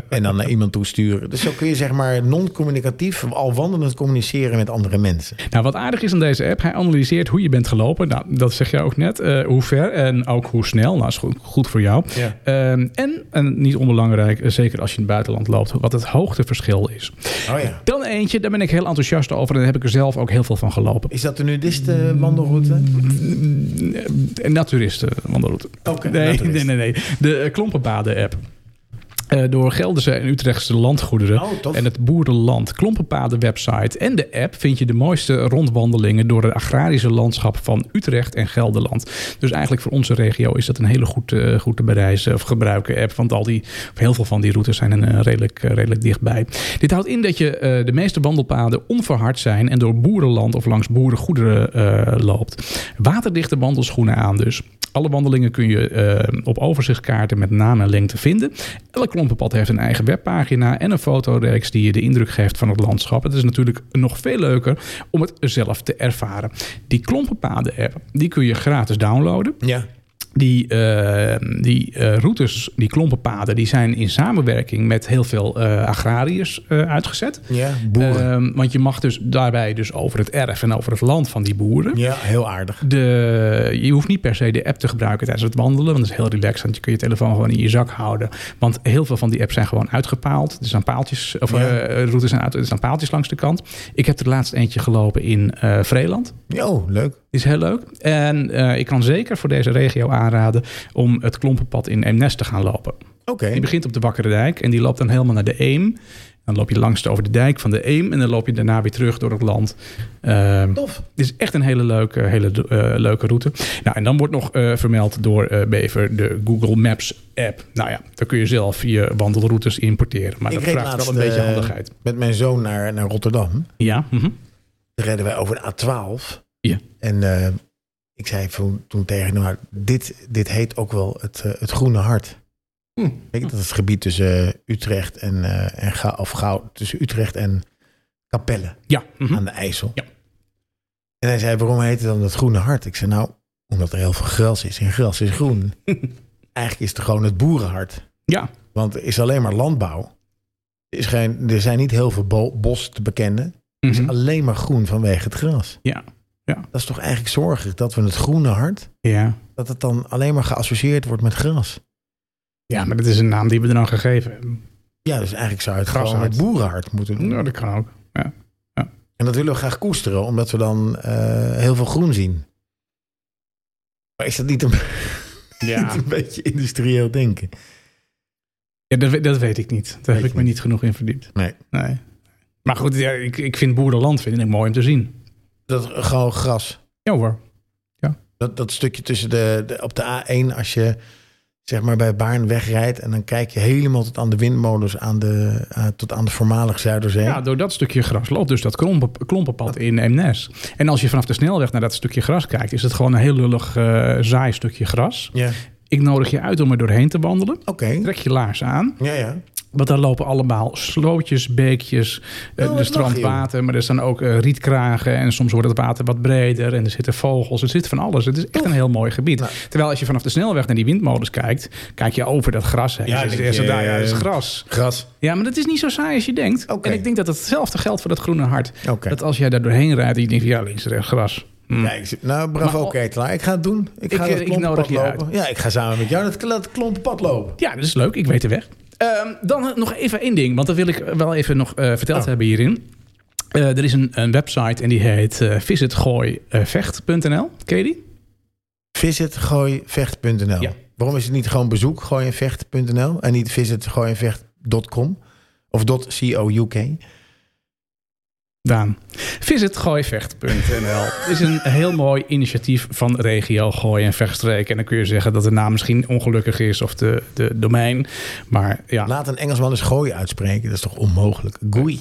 Speaker 3: en dan naar iemand toe sturen. Dus zo kun je zeg maar non-communicatief, al wandelend communiceren met andere mensen.
Speaker 2: Nou, wat aardig is aan deze app, hij analyseert hoe je bent gelopen. Nou, dat zeg jij ook net. eh, hoe ver en ook hoe snel. Nou, is goed, goed voor jou.
Speaker 3: Ja.
Speaker 2: Ehm, en, en niet onbelangrijk, eh, zeker als je in het buitenland loopt, wat het hoogteverschil is.
Speaker 3: Oh ja.
Speaker 2: Dan eentje, daar ben ik heel enthousiast over en daar heb ik er zelf ook heel veel van gelopen.
Speaker 3: Is dat de eh, nudiste-wandelroute?
Speaker 2: En naturisten wandelroute.
Speaker 3: Oké,
Speaker 2: nee,
Speaker 3: naturist.
Speaker 2: nee, nee, nee. De eh, klompenpaden-app. Eh, door Gelderse en Utrechtse landgoederen
Speaker 3: Oh, tof.
Speaker 2: en het boerenland, klompenpaden-website en de app vind je de mooiste rondwandelingen door het agrarische landschap van Utrecht en Gelderland. Dus eigenlijk voor onze regio is dat een hele goed, eh, goed te bereizen of gebruiken app, want al die, of heel veel van die routes zijn eh, redelijk, eh, redelijk dichtbij. Dit houdt in dat je eh, de meeste wandelpaden onverhard zijn en door boerenland of langs boerengoederen eh, loopt. Waterdichte wandelschoenen aan dus. Alle wandelingen kun je eh, op overzichtkaarten met naam en lengte vinden. Elk klompenpad heeft een eigen webpagina en een fotoreeks die je de indruk geeft van het landschap. Het is natuurlijk nog veel leuker om het zelf te ervaren. Die klompenpaden-app, die kun je gratis downloaden.
Speaker 3: Ja.
Speaker 2: Die, eh, die eh, routes, die klompenpaden, die zijn in samenwerking met heel veel eh, agrariërs eh, uitgezet.
Speaker 3: Ja, boeren.
Speaker 2: Ehm, want je mag dus daarbij dus over het erf en over het land van die boeren.
Speaker 3: Ja, heel aardig.
Speaker 2: De, je hoeft niet per se de app te gebruiken tijdens het wandelen. Want dat is heel relaxed. Want je kun je telefoon gewoon in je zak houden. Want heel veel van die apps zijn gewoon uitgepaald. Er staan paaltjes, of
Speaker 3: Ja.
Speaker 2: eh, routes zijn uit, er staan paaltjes langs de kant. Ik heb er laatst eentje gelopen in eh, Vreeland.
Speaker 3: Oh, leuk.
Speaker 2: Is heel leuk. En eh, ik kan zeker voor deze regio aanraden om het klompenpad in Eemnes te gaan lopen.
Speaker 3: Oké.
Speaker 2: Die begint op de Wakkere Dijk en die loopt dan helemaal naar de Eem. Dan loop je langs over de dijk van de Eem en dan loop je daarna weer terug door het land. Ehm,
Speaker 3: Tof.
Speaker 2: het is echt een hele leuke, hele eh, leuke route. Nou, en dan wordt nog eh, vermeld door eh, Bever de Google Maps app. Nou ja, daar kun je zelf je wandelroutes importeren. Maar
Speaker 3: Ik
Speaker 2: dat
Speaker 3: reed
Speaker 2: vraagt
Speaker 3: laatst
Speaker 2: wel een beetje
Speaker 3: eh,
Speaker 2: handigheid.
Speaker 3: met mijn zoon naar, naar Rotterdam.
Speaker 2: Ja, mhm.
Speaker 3: Daar reden wij over de A12.
Speaker 2: Ja.
Speaker 3: En eh, ik zei toen, toen tegen hem, maar dit, dit heet ook wel het, eh, het Groene Hart.
Speaker 2: Hm.
Speaker 3: Weet je, dat is het gebied tussen eh, Utrecht en, eh, en Gou- of Gouw, tussen Utrecht en Capelle.
Speaker 2: ja. mhm.
Speaker 3: aan de IJssel.
Speaker 2: Ja.
Speaker 3: En hij zei, waarom heet het dan dat groene hart? Ik zei, nou, omdat er heel veel gras is en gras is groen. Eigenlijk is het gewoon het boerenhart.
Speaker 2: ja.
Speaker 3: Want er is alleen maar landbouw. Er, is geen, er zijn niet heel veel bo- bos te bekennen.
Speaker 2: mhm.
Speaker 3: Alleen maar groen vanwege het gras.
Speaker 2: Ja, ja.
Speaker 3: Dat is toch eigenlijk zorgig dat we het groene hart...
Speaker 2: ja.
Speaker 3: dat het dan alleen maar geassocieerd wordt met gras.
Speaker 2: Ja, maar dat is een naam die we er dan gegeven hebben.
Speaker 3: Ja, dus eigenlijk zou het gewoon
Speaker 2: Grashart.
Speaker 3: het boerenhart moeten doen.
Speaker 2: Nou, dat kan ook. Ja.
Speaker 3: En dat willen we graag koesteren, omdat we dan eh, heel veel groen zien. Maar is dat niet een,
Speaker 2: Ja.
Speaker 3: niet een beetje industrieel denken?
Speaker 2: Ja, dat, we- dat weet ik niet. Daar
Speaker 3: Weet
Speaker 2: heb ik
Speaker 3: je
Speaker 2: me
Speaker 3: niet.
Speaker 2: niet genoeg in verdiept.
Speaker 3: Nee.
Speaker 2: nee. Maar goed, ja, ik, ik vind boerenland vind ik mooi om te zien.
Speaker 3: Dat gewoon gras.
Speaker 2: Ja hoor.
Speaker 3: Dat, dat stukje tussen de, de, op de A1, als je zeg maar bij Baarn wegrijdt en dan kijk je helemaal tot aan de windmolens, aan de, eh, tot aan de voormalig Zuiderzee.
Speaker 2: Ja, door dat stukje gras loopt dus dat klompen, klompenpad in Eemnes. En als je vanaf de snelweg naar dat stukje gras kijkt, is het gewoon een heel lullig eh, saai stukje gras.
Speaker 3: Ja.
Speaker 2: Ik nodig je uit om er doorheen te wandelen.
Speaker 3: Oké.
Speaker 2: Trek je laars aan,
Speaker 3: Ja, ja.
Speaker 2: want daar lopen allemaal slootjes, beekjes, eh,
Speaker 3: Oh,
Speaker 2: de
Speaker 3: wat lach, joh.
Speaker 2: strandwater, maar er staan ook eh, rietkragen en soms wordt het water wat breder en er zitten vogels, er zit van alles. Het is echt een heel mooi gebied.
Speaker 3: Nou.
Speaker 2: Terwijl als je vanaf de snelweg naar die windmolens kijkt, kijk je over dat gras heen.
Speaker 3: Ja,
Speaker 2: Dus
Speaker 3: denk
Speaker 2: er is-
Speaker 3: je,
Speaker 2: daar, ja,
Speaker 3: eh,
Speaker 2: dat is gras.
Speaker 3: Gras.
Speaker 2: Ja, maar dat is niet zo saai als je denkt.
Speaker 3: Oké.
Speaker 2: En ik denk dat hetzelfde geldt voor dat groene hart.
Speaker 3: Oké.
Speaker 2: Dat als jij daar doorheen rijdt en je denkt, ja, links, rechts, gras. Hm.
Speaker 3: Ja, ik, zit- nou, bravo
Speaker 2: Maar-
Speaker 3: Ketelaar. Ik ga het doen. Ik
Speaker 2: Ik- eh,
Speaker 3: ga
Speaker 2: ik
Speaker 3: dat klompenpad
Speaker 2: nodig je uit.
Speaker 3: lopen. Ja, ik ga samen met jou dat, dat klompenpad lopen.
Speaker 2: Ja, dat is leuk. Ik weet de weg. Ehm, dan nog even één ding, want dat wil ik wel even nog eh, verteld
Speaker 3: Oh.
Speaker 2: hebben hierin. Eh, er is een, een website en die heet eh visitgooivecht.nl. Ken je die?
Speaker 3: visitgooivecht.nl.
Speaker 2: Ja.
Speaker 3: Waarom is het niet gewoon bezoek gooienvecht.nl en niet visitgooienvecht.com of .co.uk?
Speaker 2: Daan. Visitgooivecht.nl is een heel mooi initiatief van regio Gooi en Vechtstreek. En dan kun je zeggen dat de naam misschien ongelukkig is of de, de domein. Maar ja,
Speaker 3: Laat een Engelsman eens gooi uitspreken. Dat is toch onmogelijk. Goei.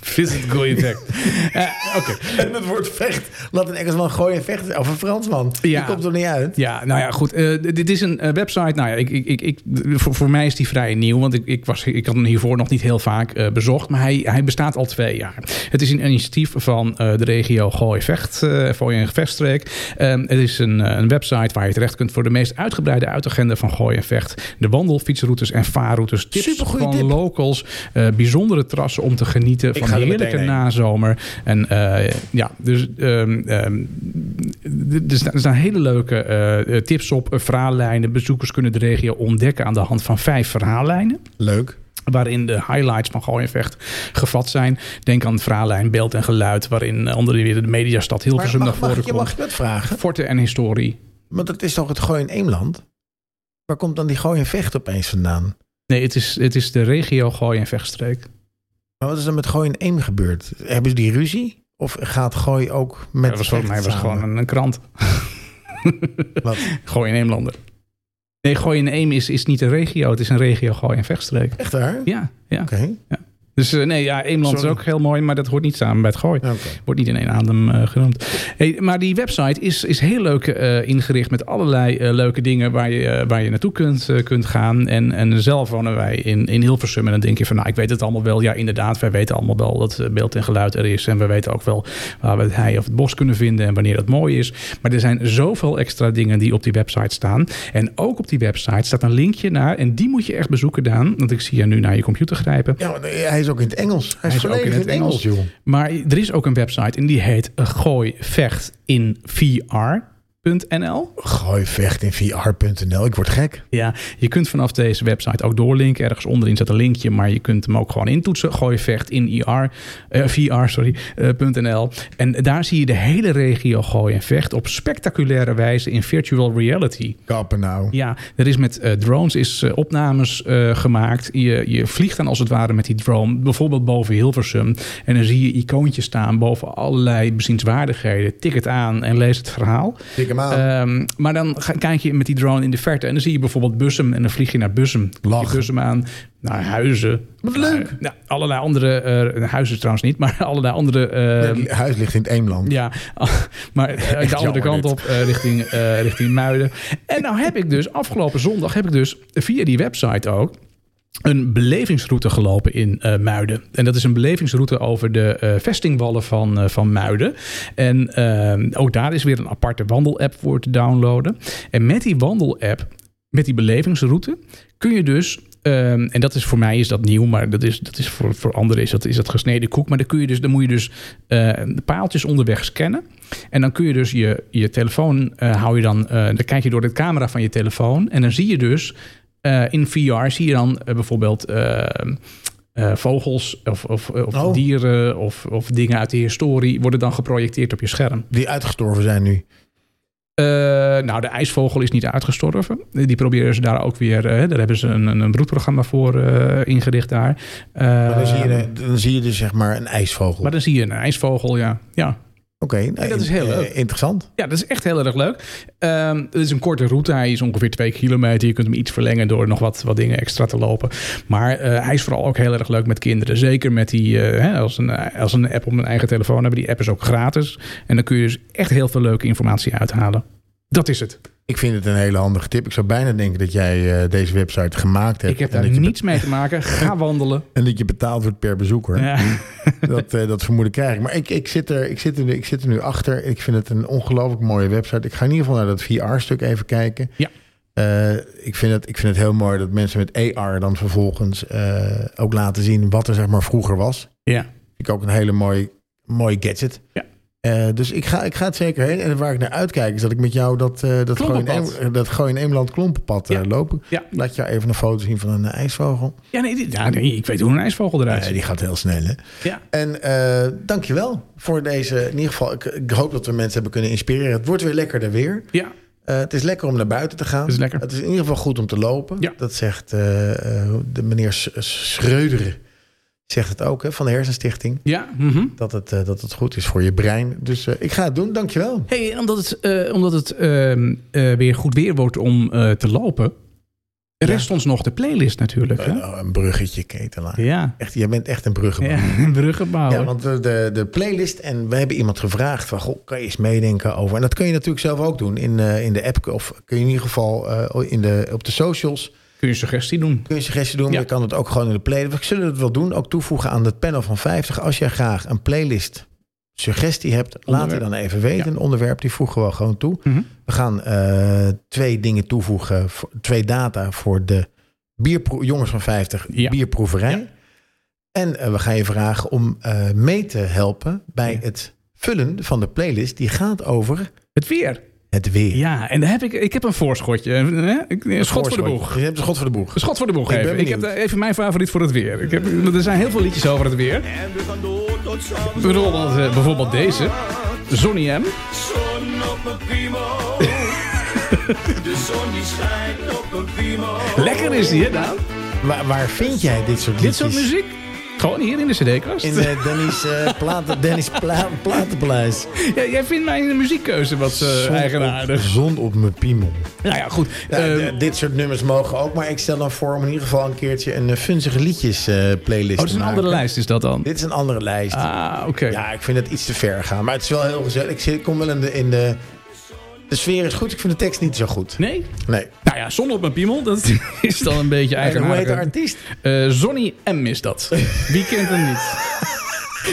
Speaker 2: Visit Gooi Vecht. Eh, Oké.
Speaker 3: En het woord vecht. Laat een Engelsman gooien en vechten. Of een Fransman.
Speaker 2: Ja.
Speaker 3: Die komt er niet uit.
Speaker 2: Ja, nou ja, goed. Eh, d- dit is een eh, website. Nou ja, ik, ik, ik, ik- voor, voor mij is die vrij nieuw. Want ik, ik, was, ik had hem hiervoor nog niet heel vaak eh, bezocht. Maar hij, hij bestaat al twee jaar. Het is een initiatief van eh, de regio Gooi-Vecht. eh Gooi- en Vechtstreek. Ehm, het is een, eh, een website waar je terecht kunt voor de meest uitgebreide uitagenda van Gooi en Vecht. De wandel, fietsroutes en vaarroutes. Tips
Speaker 3: Supergoeie
Speaker 2: van
Speaker 3: tip.
Speaker 2: locals. eh, bijzondere terrassen om te genieten
Speaker 3: Ik
Speaker 2: van
Speaker 3: ga er
Speaker 2: heerlijke
Speaker 3: meteen heen.
Speaker 2: nazomer. En eh, ja, dus ehm, ehm, d- er staan, er staan hele leuke eh, tips op, eh, verhaallijnen. Bezoekers kunnen de regio ontdekken aan de hand van vijf verhaallijnen.
Speaker 3: Leuk.
Speaker 2: Waarin de highlights van Gooi en Vecht gevat zijn. Denk aan het verhaallijn Beeld en Geluid. Waarin eh, onder weer de mediastad
Speaker 3: Maar
Speaker 2: Hilversum naar
Speaker 3: mag, mag,
Speaker 2: voren
Speaker 3: ik- je mag
Speaker 2: komt.
Speaker 3: je wat vragen.
Speaker 2: Forten en historie.
Speaker 3: Want het is toch het gooien Eemland? Waar komt dan die gooien en vecht opeens vandaan?
Speaker 2: Nee, het is, het is de regio Gooi en Vechtstreek.
Speaker 3: Maar wat is er met gooien Eem gebeurd? Hebben ze die ruzie? Of gaat gooi ook met
Speaker 2: Dat was volgens mij
Speaker 3: vecht
Speaker 2: was het
Speaker 3: samen?
Speaker 2: gewoon een, een krant.
Speaker 3: Wat?
Speaker 2: Gooi en Eemlander. Nee, Gooi en Eem is, is niet een regio. Het is een regio Gooi en Vechtstreek.
Speaker 3: Echt waar?
Speaker 2: Ja, ja.
Speaker 3: Oké.
Speaker 2: Ja. Dus eh, nee, ja, Eemland is
Speaker 3: Sorry.
Speaker 2: ook heel mooi, maar dat hoort niet samen bij het gooien.
Speaker 3: Oké.
Speaker 2: Wordt niet in één adem eh, genoemd. Hey, maar die website is, is heel leuk eh, ingericht met allerlei eh, leuke dingen waar je, eh, waar je naartoe kunt, eh, kunt gaan. En, en zelf wonen wij in, in Hilversum. En dan denk je van, nou, ik weet het allemaal wel. Ja, inderdaad, wij weten allemaal wel dat eh, beeld en geluid er is. En we weten ook wel waar we het hei of het bos kunnen vinden en wanneer dat mooi is. Maar er zijn zoveel extra dingen die op die website staan. En ook op die website staat een linkje naar. En die moet je echt bezoeken, Daan. Want ik zie je nu naar je computer grijpen.
Speaker 3: Ja, maar hij is ook in het Engels.
Speaker 2: Hij
Speaker 3: Hij, is,
Speaker 2: is ook
Speaker 3: volledig
Speaker 2: in het Engels.
Speaker 3: joh.
Speaker 2: Maar er is ook een website en die heet eh, gooivechtinvr.nl.
Speaker 3: Gooi vecht in VR.nl. Ik word gek.
Speaker 2: Ja, je kunt vanaf deze website ook doorlinken. Ergens onderin staat een linkje, maar je kunt hem ook gewoon intoetsen. Gooivecht in IR, eh, VR, sorry, eh, .nl. En daar zie je de hele regio Gooi en Vecht op spectaculaire wijze in virtual reality.
Speaker 3: Kappen nou.
Speaker 2: Ja, er is met eh, drones is, eh, opnames eh, gemaakt. Je, je vliegt dan als het ware met die drone, bijvoorbeeld boven Hilversum. En dan zie je icoontjes staan boven allerlei bezienswaardigheden. Tik het aan en lees het verhaal.
Speaker 3: Tik hem aan.
Speaker 2: Ehm, maar dan ga, kijk je met die drone in de verte en dan zie je bijvoorbeeld Bussum. En dan vlieg je naar Bussum. Klik je
Speaker 3: Lach.
Speaker 2: Bussum aan, naar Huizen. Wat leuk! nou, allerlei andere, eh, Huizen trouwens niet, maar allerlei andere... eh,
Speaker 3: Het huis ligt in het Eemland.
Speaker 2: ja, maar eh, de andere
Speaker 3: jammer
Speaker 2: kant
Speaker 3: dit.
Speaker 2: op, eh, richting, eh, richting Muiden. En nou heb ik dus, afgelopen zondag heb ik dus via die website ook een belevingsroute gelopen in eh, Muiden. En dat is een belevingsroute over de eh, vestingwallen van, eh, van Muiden. En eh, ook daar is weer een aparte wandelapp voor te downloaden. En met die wandelapp, met die belevingsroute, kun je dus... ehm, en dat is voor mij is dat nieuw, maar dat is, dat is voor, voor anderen is dat, is dat gesneden koek. Maar dan, kun je dus, dan moet je dus eh, de paaltjes onderweg scannen. En dan kun je dus je, je telefoon eh, hou je dan. eh, dan kijk je door de camera van je telefoon. En dan zie je dus eh, in VR zie je dan eh, bijvoorbeeld. eh, eh, vogels of, of, of
Speaker 3: Oh.
Speaker 2: dieren of, of dingen uit de historie worden dan geprojecteerd op je scherm.
Speaker 3: Die uitgestorven zijn nu.
Speaker 2: Eh, nou, de ijsvogel is niet uitgestorven. Die proberen ze daar ook weer. eh, daar hebben ze een, een een broedprogramma voor eh, ingericht daar. Eh,
Speaker 3: Maar dan, zie je, dan zie je dus zeg maar een ijsvogel.
Speaker 2: maar
Speaker 3: Oké.
Speaker 2: dan zie je een ijsvogel, ja. ja.
Speaker 3: nou,
Speaker 2: dat is heel
Speaker 3: eh,
Speaker 2: leuk.
Speaker 3: Interessant.
Speaker 2: Ja, dat is echt heel erg leuk. Ehm, het is een korte route. Hij is ongeveer twee kilometer. Je kunt hem iets verlengen door nog wat, wat dingen extra te lopen. Maar eh, hij is vooral ook heel erg leuk met kinderen. Zeker met die, eh, hè, als, een, als een app op een eigen telefoon hebben. Die app is ook gratis. En dan kun je dus echt heel veel leuke informatie uithalen. Dat is het.
Speaker 3: Ik vind het een hele handige tip. Ik zou bijna denken dat jij eh, deze website gemaakt hebt.
Speaker 2: Ik heb
Speaker 3: en,
Speaker 2: daar
Speaker 3: dat je
Speaker 2: niets mee te maken. Ga wandelen.
Speaker 3: be- en dat je betaald wordt per bezoeker.
Speaker 2: Ja.
Speaker 3: Dat, eh, dat vermoeden krijg ik. Maar ik, ik, zit er, ik, zit er, nu- ik zit er nu achter. Ik vind het een ongelooflijk mooie website. Ik ga in ieder geval naar dat VR-stuk even kijken.
Speaker 2: Ja.
Speaker 3: Eh, ik, vind het, ik vind het heel mooi dat mensen met AR dan vervolgens eh, ook laten zien wat er zeg maar vroeger was.
Speaker 2: ja.
Speaker 3: Vind ik ook een hele mooie, mooie gadget.
Speaker 2: Ja.
Speaker 3: Eh, dus ik ga, ik ga het zeker heen. En waar ik naar uitkijk is dat ik met jou dat, eh dat, gewoon in
Speaker 2: Klompenpad.
Speaker 3: Eem- eh, dat gewoon in Eemland klompenpad eh,
Speaker 2: Ja.
Speaker 3: lopen.
Speaker 2: Ja.
Speaker 3: Laat je even een foto zien van een eh, ijsvogel.
Speaker 2: Ja, nee, dit- ja, nee, ik weet hoe een ijsvogel eruit
Speaker 3: Eh,
Speaker 2: ziet.
Speaker 3: die gaat heel snel hè.
Speaker 2: Ja.
Speaker 3: En eh dankjewel voor deze. In ieder geval, ik, ik hoop dat we mensen hebben kunnen inspireren. Het wordt weer lekkerder weer.
Speaker 2: ja.
Speaker 3: Eh, het is lekker om naar buiten te gaan.
Speaker 2: Het is lekker.
Speaker 3: in ieder geval goed om te lopen.
Speaker 2: Ja.
Speaker 3: Dat zegt eh, eh, de meneer S- S- Schreuderen. Zegt het ook hè, van de Hersenstichting.
Speaker 2: Ja. mhm.
Speaker 3: dat het, eh, dat het goed is voor je brein. Dus eh, ik ga het doen, dankjewel.
Speaker 2: Hey, en omdat het, eh, omdat het ehm, eh, weer goed weer wordt om eh, te lopen, rest ons nog de playlist natuurlijk. Hè?
Speaker 3: Oh, een bruggetje, Ketelaar.
Speaker 2: Ja,
Speaker 3: Echt, jij bent echt een bruggenman. Ja.
Speaker 2: ja. bruggen bouwen.
Speaker 3: want de, de, de playlist, en we hebben iemand gevraagd van, goh, kan je eens meedenken over... En dat kun je natuurlijk zelf ook doen in, eh, in de app, of kun je in ieder geval eh, in de, op de socials...
Speaker 2: Kun je een suggestie doen?
Speaker 3: kun je suggesties doen, maar
Speaker 2: Ja.
Speaker 3: je kan het ook gewoon in de playlist. We zullen het wel doen, ook toevoegen aan het panel van 50. Als jij graag een playlist suggestie hebt, laat het
Speaker 2: Onderwerp.
Speaker 3: dan even weten.
Speaker 2: Ja.
Speaker 3: Een onderwerp, die voegen we gewoon toe.
Speaker 2: Mhm.
Speaker 3: We gaan eh, twee dingen toevoegen, voor- twee data voor de bierpro- jongens van 50
Speaker 2: Ja.
Speaker 3: bierproeverij.
Speaker 2: Ja.
Speaker 3: En eh, we gaan je vragen om eh, mee te helpen bij
Speaker 2: Ja.
Speaker 3: het vullen van de playlist. Die gaat over
Speaker 2: Het weer.
Speaker 3: het weer.
Speaker 2: Ja, en daar heb ik, ik heb een voorschotje. hè? Ik- Een schot voor de boeg.
Speaker 3: Je hebt een schot voor de boeg.
Speaker 2: Een schot voor de boeg
Speaker 3: Ik ben
Speaker 2: even. Ik heb
Speaker 3: benieuwd.
Speaker 2: eh, even mijn favoriet voor het weer. Ik heb, er zijn heel veel liedjes over het weer.
Speaker 4: En we gaan door tot s'avonds.
Speaker 2: Bijvoorbeeld, eh, bijvoorbeeld deze. Sonny M.
Speaker 4: Zon op mijn primo. De zon die schijnt op mijn primo.
Speaker 2: Lekker is die, hè Daan?
Speaker 3: Waar, waar vind jij dit soort
Speaker 2: Dit
Speaker 3: liedjes?
Speaker 2: soort muziek. Gewoon hier in de cd-kast.
Speaker 3: In eh, Dennis, eh, platen, Dennis Pla- Platenpaleis.
Speaker 2: Ja, jij vindt mijn muziekkeuze wat eh,
Speaker 3: Zon op-
Speaker 2: eigenaardig.
Speaker 3: Zon op mijn piemel.
Speaker 2: Nou ja, goed.
Speaker 3: Ja,
Speaker 2: Eh,
Speaker 3: d- dit soort nummers mogen ook, maar ik stel dan voor om in ieder geval een keertje een eh, funzige liedjes eh, playlist
Speaker 2: oh, het is
Speaker 3: te
Speaker 2: een
Speaker 3: maken.
Speaker 2: andere lijst is dat dan?
Speaker 3: Dit is een andere lijst.
Speaker 2: Ah, oké.
Speaker 3: Ja, ik vind het iets te ver gaan. Maar het is wel heel gezellig. Ik zit- ik kom wel in de, in de... De sfeer is goed, ik vind de tekst niet zo goed.
Speaker 2: Nee?
Speaker 3: Nee.
Speaker 2: Nou ja, zon op mijn piemel, dat is dan een beetje
Speaker 3: En hoe heet de
Speaker 2: eigenaardig.
Speaker 3: artiest?
Speaker 2: Eh Sonny M is dat. Wie kent hem niet?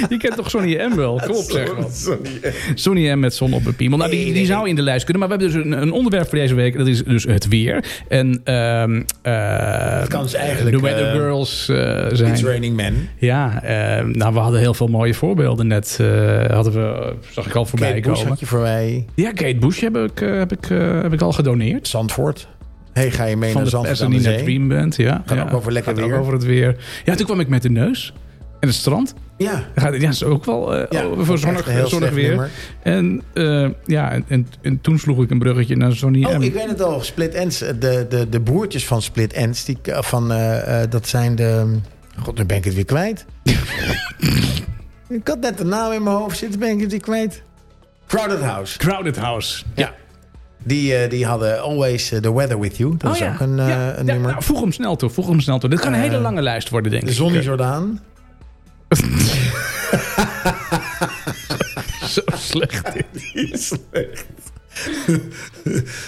Speaker 2: Je kent toch Sonny M wel? Kom op, zeg maar. Sonny M met zon op een piemel. Nou, die, die zou in de lijst kunnen. Maar we hebben dus een, een onderwerp voor deze week. Dat is dus het weer. En ehm eh
Speaker 3: kan dus eigenlijk,
Speaker 2: The Weather
Speaker 3: eh,
Speaker 2: Girls eh, zijn.
Speaker 3: It's Raining Men.
Speaker 2: Ja, eh, nou, we hadden heel veel mooie voorbeelden net. eh, hadden we, zag ik al voorbij
Speaker 3: Kate Bush
Speaker 2: komen.
Speaker 3: had je voor mij.
Speaker 2: Ja, Kate Bush heb ik, eh, heb ik, eh, heb ik al gedoneerd.
Speaker 3: Zandvoort. hey, ga je mee
Speaker 2: Van
Speaker 3: naar
Speaker 2: de
Speaker 3: Zandvoort
Speaker 2: Pest
Speaker 3: aan
Speaker 2: en
Speaker 3: de
Speaker 2: die
Speaker 3: zee?
Speaker 2: naar Dream Band. Ja,
Speaker 3: Gaat
Speaker 2: ja.
Speaker 3: ook over lekker
Speaker 2: Gaat ook
Speaker 3: weer.
Speaker 2: over het weer. Ja, toen kwam ik met de neus en het strand.
Speaker 3: Ja.
Speaker 2: Ja, dat is ook wel eh,
Speaker 3: Ja,
Speaker 2: voor
Speaker 3: echt een
Speaker 2: zonnig,
Speaker 3: heel
Speaker 2: zonnig
Speaker 3: slecht
Speaker 2: weer.
Speaker 3: nummer.
Speaker 2: En eh, ja, en, en, en toen sloeg ik een bruggetje naar Sonny
Speaker 3: Oh,
Speaker 2: M.
Speaker 3: ik weet het al. Split Ends. eh, De, de, de broertjes van Split Ends. Die, eh, van, eh, eh, dat zijn de... God, nu ben ik het weer kwijt. ik had net de naam in mijn hoofd zitten. Ben ik het weer kwijt. Crowded House.
Speaker 2: Crowded House.
Speaker 3: Ja. Die, eh, die hadden Always eh, the Weather With You. Dat
Speaker 2: Oh
Speaker 3: is
Speaker 2: ja,
Speaker 3: ook een, eh,
Speaker 2: ja,
Speaker 3: een
Speaker 2: ja,
Speaker 3: nummer. Eh,
Speaker 2: nou, voeg hem snel toe, voeg hem snel toe. Dit kan een hele lange lijst worden, denk ik.
Speaker 3: Zonny Jordaan.
Speaker 2: Zo slecht dit is.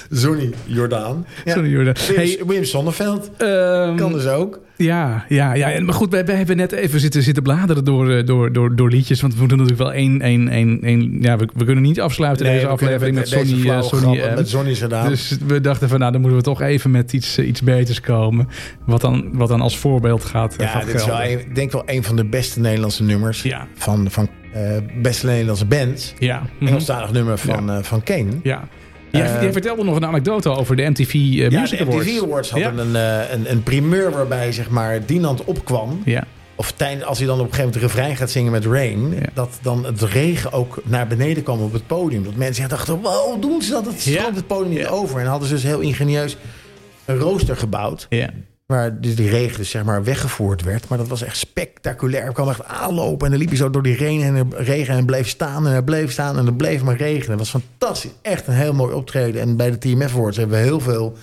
Speaker 3: Zonny Jordaan. Ja.
Speaker 2: Sorry, Jordan. Hey,
Speaker 3: Wim, Wim Sonneveld.
Speaker 2: ehm,
Speaker 3: Kan dus ook.
Speaker 2: Ja, ja, ja. En, maar goed, wij, wij hebben net even zitten, zitten bladeren door, eh, door, door, door liedjes. Want we moeten natuurlijk wel één... één, één, één ja, we, we kunnen niet afsluiten
Speaker 3: Nee,
Speaker 2: deze
Speaker 3: we kunnen
Speaker 2: aflevering met,
Speaker 3: deze
Speaker 2: Sonny, eh,
Speaker 3: flauwe
Speaker 2: Sonny
Speaker 3: grappen
Speaker 2: M.
Speaker 3: Met Sonny Jordaan.
Speaker 2: Dus we dachten van, nou, dan moeten we toch even met iets, eh, iets beters komen. Wat dan, wat dan als voorbeeld gaat, eh,
Speaker 3: Ja,
Speaker 2: gaat
Speaker 3: dit is wel
Speaker 2: gelden.
Speaker 3: een, ik denk wel een van de beste Nederlandse nummers.
Speaker 2: Ja.
Speaker 3: Van, van eh, beste Nederlandse bands.
Speaker 2: Ja, mhm.
Speaker 3: Engelstalig nummer van, eh, van Kane.
Speaker 2: ja. Jij,
Speaker 3: Eh,
Speaker 2: jij vertelde nog een anekdote over de MTV eh,
Speaker 3: Ja,
Speaker 2: Music
Speaker 3: de
Speaker 2: Awards.
Speaker 3: MTV Awards hadden
Speaker 2: ja.
Speaker 3: een, eh, een, een primeur waarbij zeg maar Dinant opkwam.
Speaker 2: Ja.
Speaker 3: Of tijdens, als hij dan op een gegeven moment de refrein gaat zingen met Rain.
Speaker 2: Ja.
Speaker 3: Dat dan het regen ook naar beneden kwam op het podium. Dat mensen echt dachten, wow, doen ze dat? Het
Speaker 2: Ja.
Speaker 3: stroomt het podium niet
Speaker 2: Ja.
Speaker 3: over. En hadden ze dus heel ingenieus een rooster gebouwd.
Speaker 2: Ja.
Speaker 3: Waar dus die regen dus zeg maar weggevoerd werd. Maar dat was echt spectaculair. Er kwam echt aanlopen en dan liep je zo door die regen en, regen en bleef staan en hij bleef staan en er bleef maar regenen. Het was fantastisch. Echt een heel mooi optreden. En bij de TMF Awards hebben we heel veel...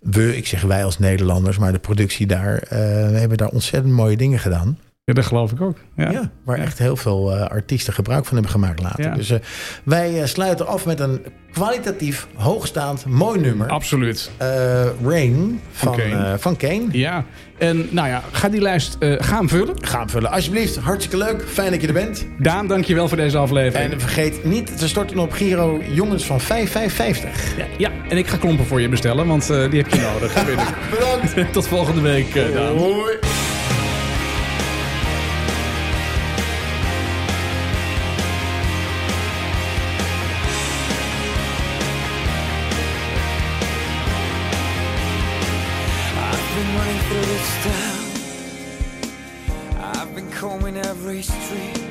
Speaker 3: We, ik zeg wij als Nederlanders, maar de productie daar... eh, we hebben daar ontzettend mooie dingen gedaan.
Speaker 2: Ja, dat geloof ik ook. Ja.
Speaker 3: Ja, waar echt heel veel eh, artiesten gebruik van hebben gemaakt later.
Speaker 2: Ja.
Speaker 3: Dus eh, wij eh, sluiten af met een kwalitatief, hoogstaand, mooi nummer.
Speaker 2: Absoluut.
Speaker 3: Eh, Rain van,
Speaker 2: Kane.
Speaker 3: eh, van Kane.
Speaker 2: Ja. En nou ja, ga die lijst eh, gaan vullen.
Speaker 3: Ga hem vullen. Alsjeblieft, hartstikke leuk. Fijn dat je er bent.
Speaker 2: Daan, dankjewel voor deze aflevering.
Speaker 3: En vergeet niet te storten op Giro Jongens van 5550.
Speaker 2: ja, ja, en ik ga klompen voor je bestellen, want eh, die heb je nodig. dat weet ik.
Speaker 3: Bedankt.
Speaker 2: Tot volgende week, eh, Daan.
Speaker 3: Hoi.
Speaker 7: I've been running through this town. I've been combing every street.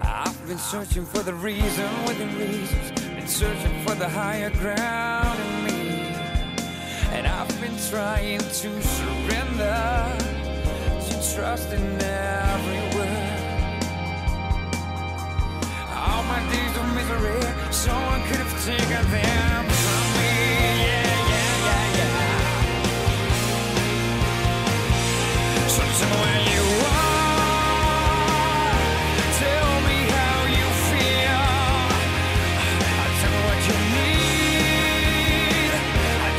Speaker 7: I've been searching for the reason within reasons. Been searching for the higher ground in me. And I've been trying to surrender to trust in every word. All my days of misery, someone could have taken them from me. Yeah, yeah, yeah, yeah. So tell me where you are. Tell me how you feel. Tell me what you need.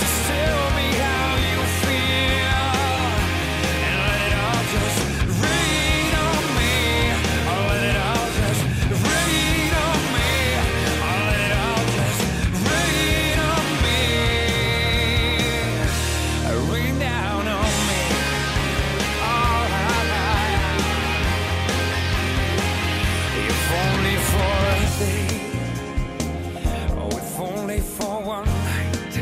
Speaker 7: Just tell me how you feel. And let it all just rain on me. Oh, let it all just rain on me. Oh, let it all just rain on me. Rain down on me. If only for a day, oh, if only for one night,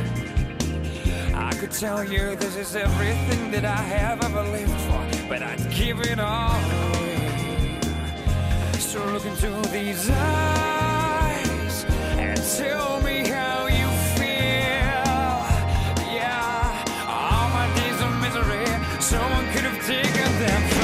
Speaker 7: I could tell you this is everything that I have ever lived for, but I'd give it all away. So look into these eyes and tell me how you feel. Yeah, all my days of misery, someone could have taken them.